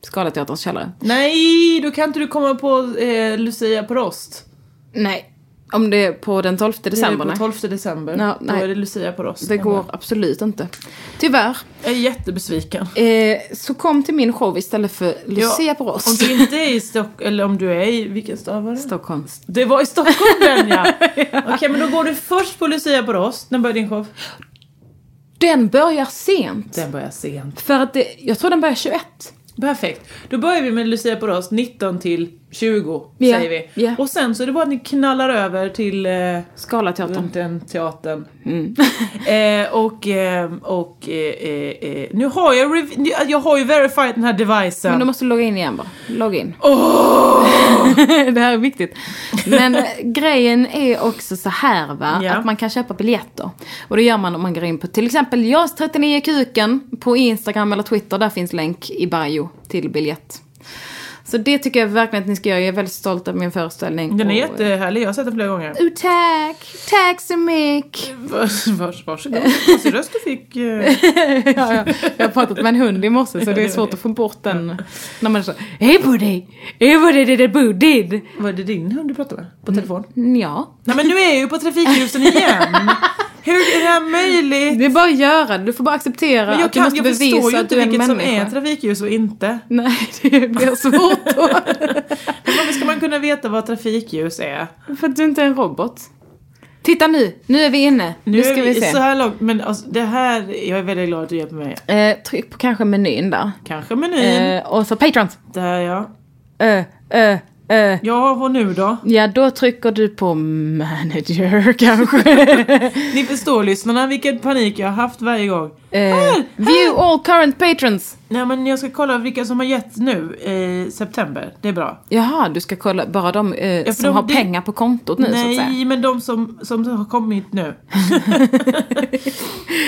Speaker 2: Scalateaterns källare.
Speaker 1: Nej, då kan inte du komma på eh, Lucia på rost.
Speaker 2: Nej, om det är på den 12 december.
Speaker 1: det är
Speaker 2: nej.
Speaker 1: på 12 december.
Speaker 2: Ja,
Speaker 1: då
Speaker 2: nej.
Speaker 1: är det Lucia på rost.
Speaker 2: Det går absolut inte. Tyvärr.
Speaker 1: Jag är jättebesviken.
Speaker 2: Eh, så kom till min show istället för Lucia på oss.
Speaker 1: Om du inte är i Stockholm, eller om du är i, vilken stad var det?
Speaker 2: Stockholm.
Speaker 1: Det var i Stockholm den ja! Okej men då går du först på Lucia på rost. När börjar din show?
Speaker 2: Den börjar sent.
Speaker 1: Den börjar sent.
Speaker 2: För att det, jag tror den börjar 21.
Speaker 1: Perfekt. Då börjar vi med Lucia på rost 19 till 20
Speaker 2: Ja,
Speaker 1: säger vi.
Speaker 2: ja.
Speaker 1: Och sen så är det bara att ni knallar över till eh,
Speaker 2: Scalateatern.
Speaker 1: runt den teatern. Eh, och eh, och eh, eh, eh, nu har jag, rev- nu- jag har ju verified den här devicen.
Speaker 2: Men du måste logga in igen bara. Logga in. det här är viktigt. Men eh, grejen är också så här va,
Speaker 1: Ja.
Speaker 2: att man kan köpa biljetter. Och det gör man om man går in på till exempel jas 39 kuken på Instagram eller Twitter. Där finns länk i bio till biljett. Så det tycker jag verkligen att ni ska göra. Jag är väldigt stolt över min föreställning.
Speaker 1: Den är
Speaker 2: Och-
Speaker 1: jättehärlig, jag har sett den flera gånger.
Speaker 2: Oh, tack! Tack så mycket!
Speaker 1: Vars, vars, varsågod. Konstig röst du fick. eh.
Speaker 2: ja, ja. Jag har pratat med en hund i morse så det är svårt att få bort den. När man säger Hej Buddy! Hej Buddy, det är Buddy!
Speaker 1: Var det din hund du pratade med? På telefon?
Speaker 2: Ja.
Speaker 1: Nej men nu är jag ju på trafikljusen igen! Hur är det här möjligt?
Speaker 2: Det är bara att göra det. Du får bara acceptera
Speaker 1: Men jag,
Speaker 2: att du
Speaker 1: kan,
Speaker 2: måste
Speaker 1: jag
Speaker 2: bevisa
Speaker 1: förstår ju
Speaker 2: att
Speaker 1: inte
Speaker 2: du är en
Speaker 1: vilket
Speaker 2: människa.
Speaker 1: som är trafikljus och inte.
Speaker 2: Nej, det blir svårt då.
Speaker 1: Varför ska man kunna veta vad trafikljus är?
Speaker 2: För att du inte är en robot. Titta nu, nu är vi inne. Nu,
Speaker 1: är
Speaker 2: ska vi, se.
Speaker 1: Så här långt, men alltså, det här, jag är väldigt glad att du hjälper mig.
Speaker 2: Eh, tryck på kanske menyn där.
Speaker 1: Kanske menyn.
Speaker 2: Eh, och så Patrons.
Speaker 1: Där ja.
Speaker 2: Eh, eh, eh.
Speaker 1: Ja, vad nu då?
Speaker 2: Ja, då trycker du på manager kanske.
Speaker 1: Ni förstår lyssnarna vilken panik jag har haft varje gång.
Speaker 2: eh, view all current patrons.
Speaker 1: Nej men jag ska kolla vilka som har gett nu i september. Det är bra.
Speaker 2: Jaha, du ska kolla bara de eh,
Speaker 1: för
Speaker 2: som
Speaker 1: de-
Speaker 2: har
Speaker 1: det-
Speaker 2: pengar på kontot nu så att säga.
Speaker 1: Nej, men de som, som har kommit nu.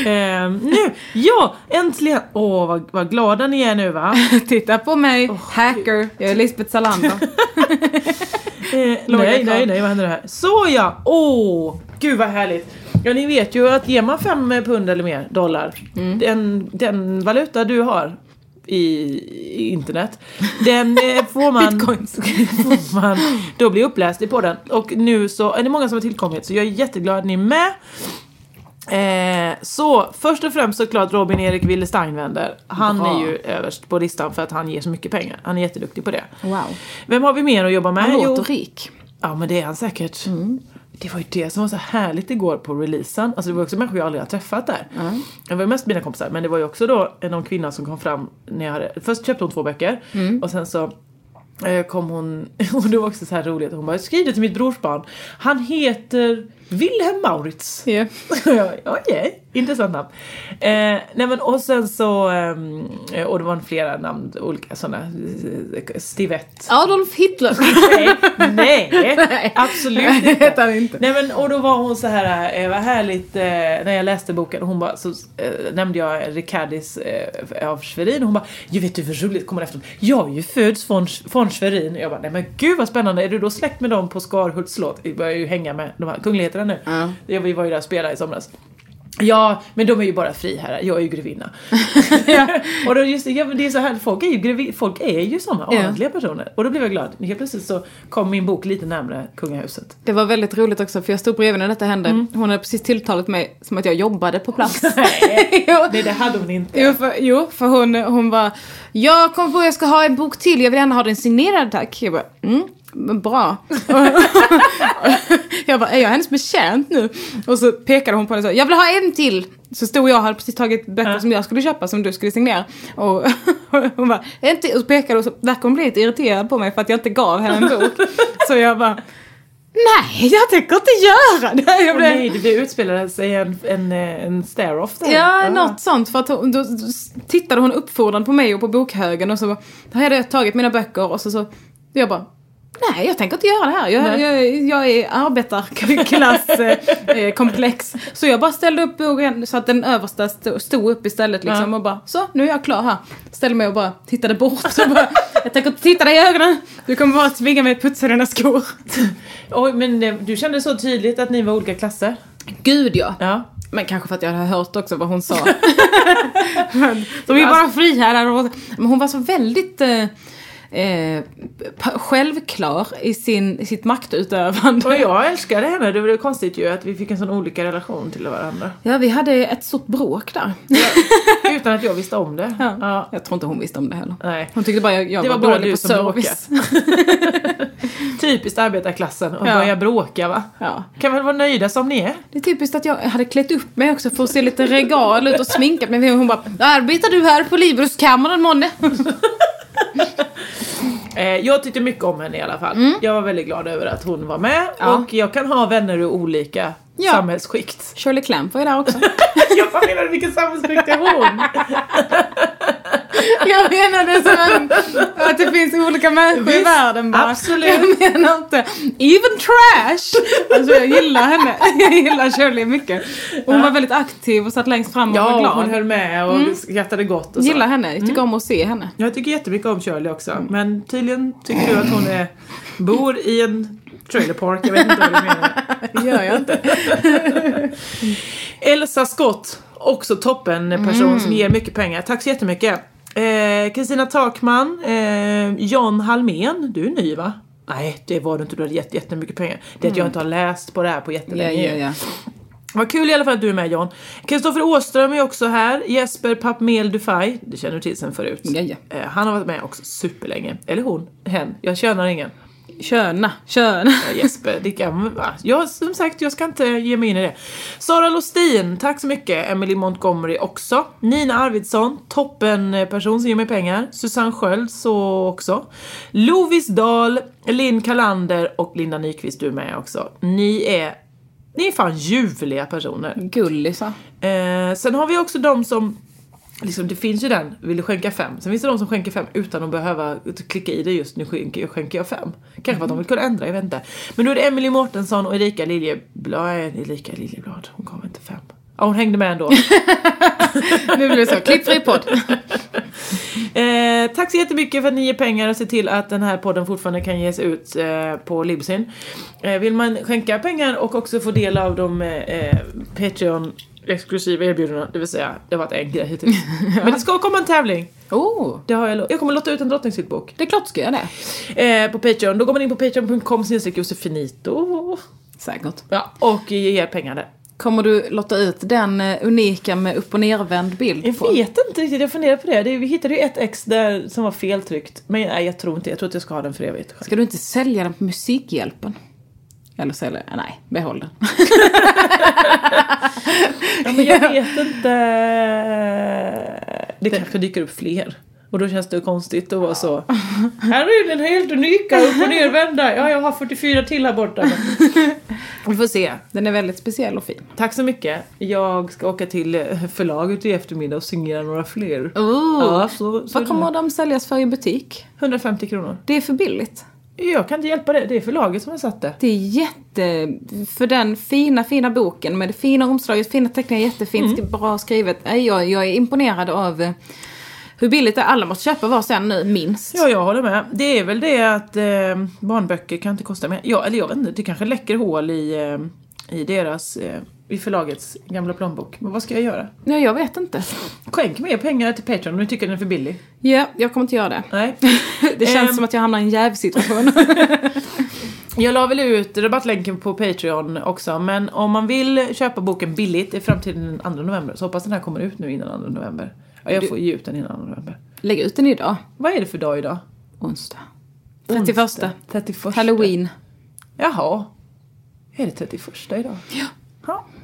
Speaker 1: eh, nu! Ja, äntligen! Åh, vad, vad glada ni är nu va?
Speaker 2: Titta på mig, hacker. Jag är Lisbeth Salander.
Speaker 1: Eh,
Speaker 2: Laga
Speaker 1: nej,
Speaker 2: kvar.
Speaker 1: nej, nej, vad händer här? Så ja! Åh, gud vad härligt! Ja, ni vet ju att ger man fem eh, pund eller mer dollar,
Speaker 2: Mm.
Speaker 1: den, den valuta du har i, i internet, den eh, får man...
Speaker 2: Bitcoins.
Speaker 1: får man då bli uppläst i podden. Och nu så är det många som har tillkommit, så jag är jätteglad att ni är med. Eh, så först och främst såklart Robin Erik Wille Steinwender. Han
Speaker 2: Bra.
Speaker 1: är ju överst på listan för att han ger så mycket pengar. Han är jätteduktig på det.
Speaker 2: Wow.
Speaker 1: Vem har vi mer att jobba med?
Speaker 2: Han
Speaker 1: Jo,
Speaker 2: låter rik.
Speaker 1: Ja men det är han säkert. Det var ju det som var så härligt igår på releasen. Alltså det var också människor jag aldrig har träffat där. Det var ju mest mina kompisar men det var ju också då någon kvinna som kom fram när jag hade, först köpte hon två böcker och sen så eh, kom hon, och det var också så här roligt, hon bara skriv det till mitt brorsbarn. Han heter Wilhelm Maurits.
Speaker 2: Ja.
Speaker 1: Ja, Okej, intressant namn. Eh, nej men och sen så, ehm, och det var flera namn, olika eh, sådana, Stivett
Speaker 2: Adolf Hitler.
Speaker 1: Nej, nej,
Speaker 2: Nej.
Speaker 1: absolut
Speaker 2: Det heter han inte.
Speaker 1: Nej men och då var hon så här, eh, vad härligt, eh, när jag läste boken, hon bara, så eh, nämnde jag Ricardis eh, av Schwerin, hon bara, ju vet du vad roligt, kommer efter jag är ju född från, från Schwerin, jag bara, nej men gud vad spännande, är du då släkt med dem på Skarhults slott? Vi börjar ju hänga med de här kungligheterna nu. Ja. Vi var ju där och spelade i somras. Ja, men de är ju bara friherrar, jag är ju grevinna. och då just, det, ja, men det är så här, folk är ju, grevi, folk är ju såna
Speaker 2: Ja.
Speaker 1: adliga personer. Och då blev jag glad. Helt plötsligt så kom min bok lite närmare kungahuset.
Speaker 2: Det var väldigt roligt också för jag stod bredvid när detta hände. Hon hade precis tilltalat mig som att jag jobbade på plats.
Speaker 1: Nej.
Speaker 2: jo,
Speaker 1: Nej, det hade hon inte.
Speaker 2: jo, för, jo, för hon, hon bara Jag kom på att jag ska ha en bok till, jag vill gärna ha den signerad tack. Jag bara mm. men Bra. jag bara, är jag hennes betjänt nu? Och så pekade hon på den och sa, jag vill ha en till. Så stod jag och hade precis tagit böcker som jag skulle köpa som du skulle signera. Och hon bara, en till. Och så pekade och så verkade hon bli lite irriterad på mig för att jag inte gav henne en bok. så jag bara, nej jag tänker inte göra det. Jag
Speaker 1: Åh
Speaker 2: blev,
Speaker 1: nej, det blev utspelade sig en, en, eh, en stare-off där.
Speaker 2: Ja, något sånt. För att hon, då tittade hon uppfordrande på mig och på bokhögen och så bara, här hade jag tagit mina böcker och så, så jag bara, nej jag tänker inte göra det här. Jag,
Speaker 1: Nej.
Speaker 2: jag, jag är arbetarklasskomplex. så jag bara ställde upp boken så att den översta sto- stod upp istället liksom
Speaker 1: Ja.
Speaker 2: och bara, så nu är jag klar här. Ställde mig och bara tittade bort och bara, jag tänker inte titta dig i ögonen. Du kommer bara tvinga mig att putsa dina skor.
Speaker 1: Oj, men eh, du kände så tydligt att ni var olika klasser.
Speaker 2: Gud ja.
Speaker 1: Ja.
Speaker 2: Men kanske för att jag hade hört också vad hon sa. Men, de är ju
Speaker 1: Alltså-
Speaker 2: bara friherrar och... Men hon var så väldigt eh, eh, p- självklar i sin, sitt maktutövande.
Speaker 1: Och jag älskade henne, det var ju konstigt ju att vi fick en sån olika relation till varandra.
Speaker 2: Ja, vi hade ett stort bråk där.
Speaker 1: Utan att jag visste om det.
Speaker 2: Ja.
Speaker 1: Ja.
Speaker 2: Jag tror inte hon visste om det heller.
Speaker 1: Nej.
Speaker 2: Hon tyckte bara jag, jag
Speaker 1: Det
Speaker 2: var,
Speaker 1: var bara
Speaker 2: dålig
Speaker 1: du
Speaker 2: på
Speaker 1: som
Speaker 2: service.
Speaker 1: Typiskt arbetarklassen och
Speaker 2: Ja.
Speaker 1: börja bråka va?
Speaker 2: Ja.
Speaker 1: Kan väl vara nöjda som ni är?
Speaker 2: Det är typiskt att jag hade klätt upp mig också för att se lite regal ut och sminkat mig. Hon bara “Arbetar du här på Libruskammaren månne?”
Speaker 1: Eh, jag tyckte mycket om henne i alla fall. Jag var väldigt glad över att hon var med
Speaker 2: Mm. Ja.
Speaker 1: och jag kan ha vänner ur olika
Speaker 2: Ja.
Speaker 1: samhällsskikt.
Speaker 2: Shirley Clamp var ju där också.
Speaker 1: jag bara menar vilken samhällsskikt är hon?
Speaker 2: Jag menar det som en, att det finns olika människor i världen bara.
Speaker 1: absolut.
Speaker 2: Jag menar inte, even trash! Alltså jag gillar henne, jag gillar Shirley mycket. Hon var väldigt aktiv och satt längst fram och var
Speaker 1: Ja,
Speaker 2: glad. Mm.
Speaker 1: hon höll med och skrattade gott och så. Mm.
Speaker 2: Gillar henne, Mm. jag tycker om att se henne.
Speaker 1: Jag tycker jättemycket om Shirley också. Men tydligen tycker du att hon är, bor i en trailer park. Jag vet inte vad du menar.
Speaker 2: Det gör jag inte.
Speaker 1: Elsa Skott, också toppen person som
Speaker 2: Mm.
Speaker 1: ger mycket pengar. Tack så jättemycket. Eh, Kristina Takman, eh, John Halmén, du är ny va? Nej, det var du inte. Du hade gett jättemycket pengar. Det är att jag inte har läst på det här på
Speaker 2: Ja,
Speaker 1: jättelänge.
Speaker 2: Mm. ja,
Speaker 1: ju.
Speaker 2: ja.
Speaker 1: Vad kul i alla fall att du är med John. Kristoffer Åström är också här. Jesper Papmel Dufay, det känner du till sen förut.
Speaker 2: Ja, ja.
Speaker 1: Eh, Han har varit med också superlänge. Eller hon, hen. Jag tjänar ingen.
Speaker 2: Köna, köna.
Speaker 1: Ja, Jesper, det kan, va? jag, som sagt, jag ska inte ge mig in i det. Sara Lostin, tack så mycket. Emily Montgomery också. Nina Arvidsson, toppen eh, person som ger mig pengar. Susanne Sköld, så också. Lovis Dahl, Linn Kalander och Linda Nyqvist, du är med också. Ni är, ni är fan ljuvliga personer.
Speaker 2: Gullisar.
Speaker 1: Eh, sen har vi också de som Liksom, det finns ju den, vill du skänka fem? Sen finns det de som skänker fem utan att behöva klicka i det just nu skänker jag, skänker jag fem. Kanske för att de vill kunna ändra, jag vet inte. Men då är det Emily Mårtensson och Erika Liljeblad, nej, Erika Liljeblad, hon gav inte fem. Ja, hon hängde med ändå.
Speaker 2: Nu blir det så, klippfri podd.
Speaker 1: Eh, tack så jättemycket för att ni ger pengar och ser till att den här podden fortfarande kan ges ut eh, på Libsyn. Eh, vill man skänka pengar och också få del av de eh, eh, Patreon exklusiva erbjudandena, det vill säga det har varit en grej hittills. Men det ska komma en tävling,
Speaker 2: Oh,
Speaker 1: det har jag lovat. Jag kommer låta ut en drottningshyttbok
Speaker 2: det är klart ska jag det.
Speaker 1: eh, på Patreon. Då går man in på patreon.com snedstreck josefinito
Speaker 2: Säkert.
Speaker 1: ja, och ger pengar där.
Speaker 2: Kommer du lotta ut den eh, unika med upp och nervänd bild?
Speaker 1: Jag vet inte riktigt, jag funderar på det. det. Vi hittade ju ett ex där som var feltryckt. Men nej, jag tror inte, jag tror att jag ska ha den för evigt.
Speaker 2: Ska du inte sälja den på Musikhjälpen? Eller sälja den? Nej, behåll den.
Speaker 1: Ja, men jag vet inte. Det kanske dyker upp fler. Och då känns det konstigt att vara så. Här är den helt unika, upp och nervända. Ja, jag har 44 till här borta. Vi får se.
Speaker 2: Den är väldigt speciell och fin.
Speaker 1: Tack så mycket. Jag ska åka till eh, förlaget i eftermiddag och signera några fler.
Speaker 2: Oh.
Speaker 1: Ja, så, så
Speaker 2: Vad kommer de säljas för i butik?
Speaker 1: 150 kronor.
Speaker 2: Det är för billigt.
Speaker 1: Jag kan inte hjälpa det, det är förlaget som har satt det.
Speaker 2: Det är jätte... För den fina, fina boken med det fina omslaget, fina teckningar, jättefint, bra skrivet. Nej, Jag, jag är imponerad av eh, hur billigt det är. Alla måste köpa var sen nu, minst.
Speaker 1: Ja, jag håller med. Det är väl det att eh, barnböcker kan inte kosta mer. Ja, eller jag vet inte, det kanske läcker hål i, eh, i deras, eh, i förlagets gamla plånbok. Men vad ska jag göra?
Speaker 2: Nej, jag vet inte.
Speaker 1: Skänk mer pengar till Patreon om du tycker den är för billig.
Speaker 2: Ja, jag kommer inte göra det.
Speaker 1: Nej.
Speaker 2: Det känns
Speaker 1: Ehm.
Speaker 2: som att jag hamnar i en jävsituation.
Speaker 1: Jag la väl ut rabattlänken på Patreon också, men om man vill köpa boken billigt i framtiden den 2 november så hoppas den här kommer ut nu innan 2 november. Ja, jag får ge ut den innan 2 november.
Speaker 2: Lägg ut den idag.
Speaker 1: Vad är det för dag idag?
Speaker 2: Onsdag. 31.
Speaker 1: 31.
Speaker 2: Halloween.
Speaker 1: Jaha. Är det 31 idag?
Speaker 2: I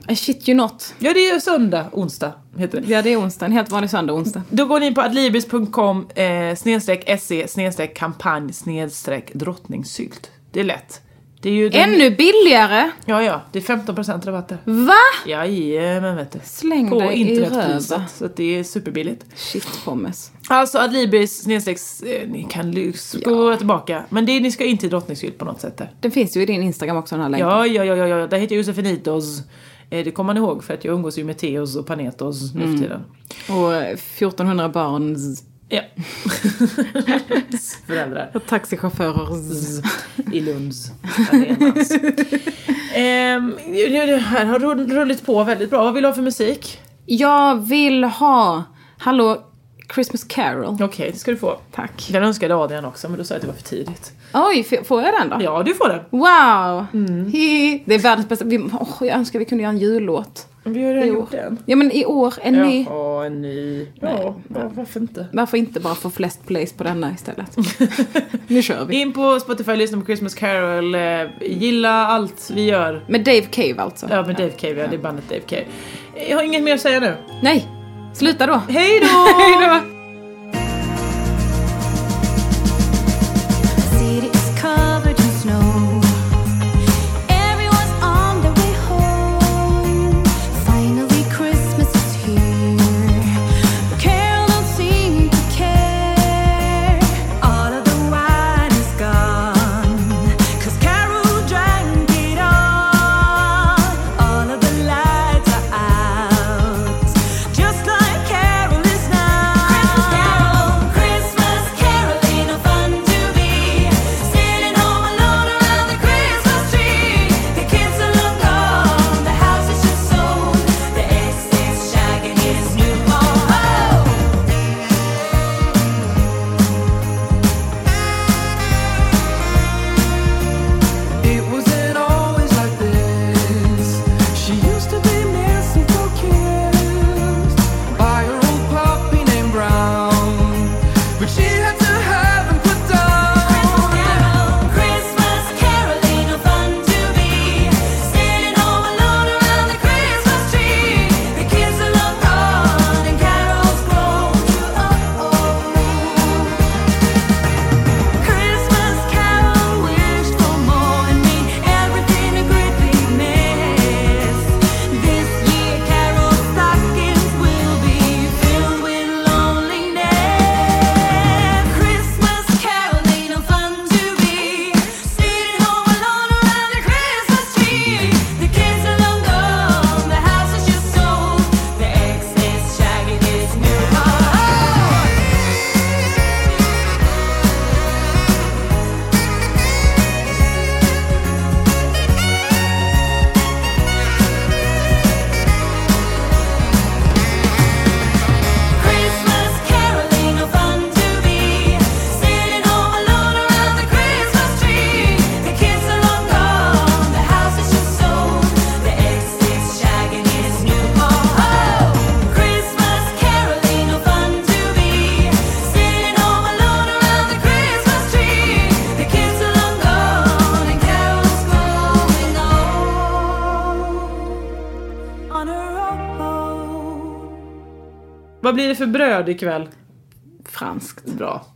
Speaker 2: Eh, shit you not.
Speaker 1: Ja, det är ju söndag, onsdag heter det.
Speaker 2: Ja, det är onsdag. En helt vanlig söndag och onsdag.
Speaker 1: Då går ni in på adlibris.com eh, snedstreck se snedstreck kampanj snedstreck drottningsylt. Det är lätt. Det är ju den-
Speaker 2: Ännu billigare!
Speaker 1: Ja, ja, det är 15% rabatter.
Speaker 2: Va?
Speaker 1: Jajamän vet du.
Speaker 2: Släng
Speaker 1: på
Speaker 2: dig i
Speaker 1: internetpriset,
Speaker 2: röven.
Speaker 1: Så att det är superbilligt.
Speaker 2: Shit pommes.
Speaker 1: Alltså adlibris snedstreck, eh, ni kan lyx- gå tillbaka. Men det, ni ska in till drottningsylt på något sätt där.
Speaker 2: Den finns ju i din Instagram också den här länken.
Speaker 1: Ja, ja, ja, ja, ja. där heter jag Josefinitos. Eh, det kommer man ihåg för att jag umgås ju med Teos och Panetos nu
Speaker 2: Mm.
Speaker 1: för tiden.
Speaker 2: Och eh, 1400 barns
Speaker 1: Ja. Föräldrar.
Speaker 2: och taxichaufförers.
Speaker 1: i Lunds arenas. Ehm, det det här har rull- rullit på väldigt bra. Vad vill du ha för musik?
Speaker 2: Jag vill ha, hallå, Christmas Carol.
Speaker 1: Okej, det ska du få.
Speaker 2: Tack.
Speaker 1: Den önskade Adrian också, men då sa jag att det var för tidigt.
Speaker 2: Oj, f- får jag den då?
Speaker 1: Ja, du får den.
Speaker 2: Wow! Hi. Det är världens bästa. Vi, åh, jag önskar vi kunde göra en jullåt.
Speaker 1: Vi har redan
Speaker 2: Jo.
Speaker 1: gjort den.
Speaker 2: Ja men i år, en ny.
Speaker 1: Jaha, en ny. Ja, ja, varför inte?
Speaker 2: Varför inte bara få flest plays på denna istället? nu kör vi.
Speaker 1: In på Spotify, lyssna på Christmas Carol, eh, gilla allt vi gör.
Speaker 2: Med Dave Cave alltså.
Speaker 1: Ja, med Dave Cave, ja, det är bandet Dave Cave. Jag har inget mer att säga nu.
Speaker 2: Nej! Sluta då!
Speaker 1: Hej då!
Speaker 3: Finally, Christmas is here. Carol don't seem to care.
Speaker 1: Vad blir det för bröd ikväll?
Speaker 2: Franskt.
Speaker 1: Bra.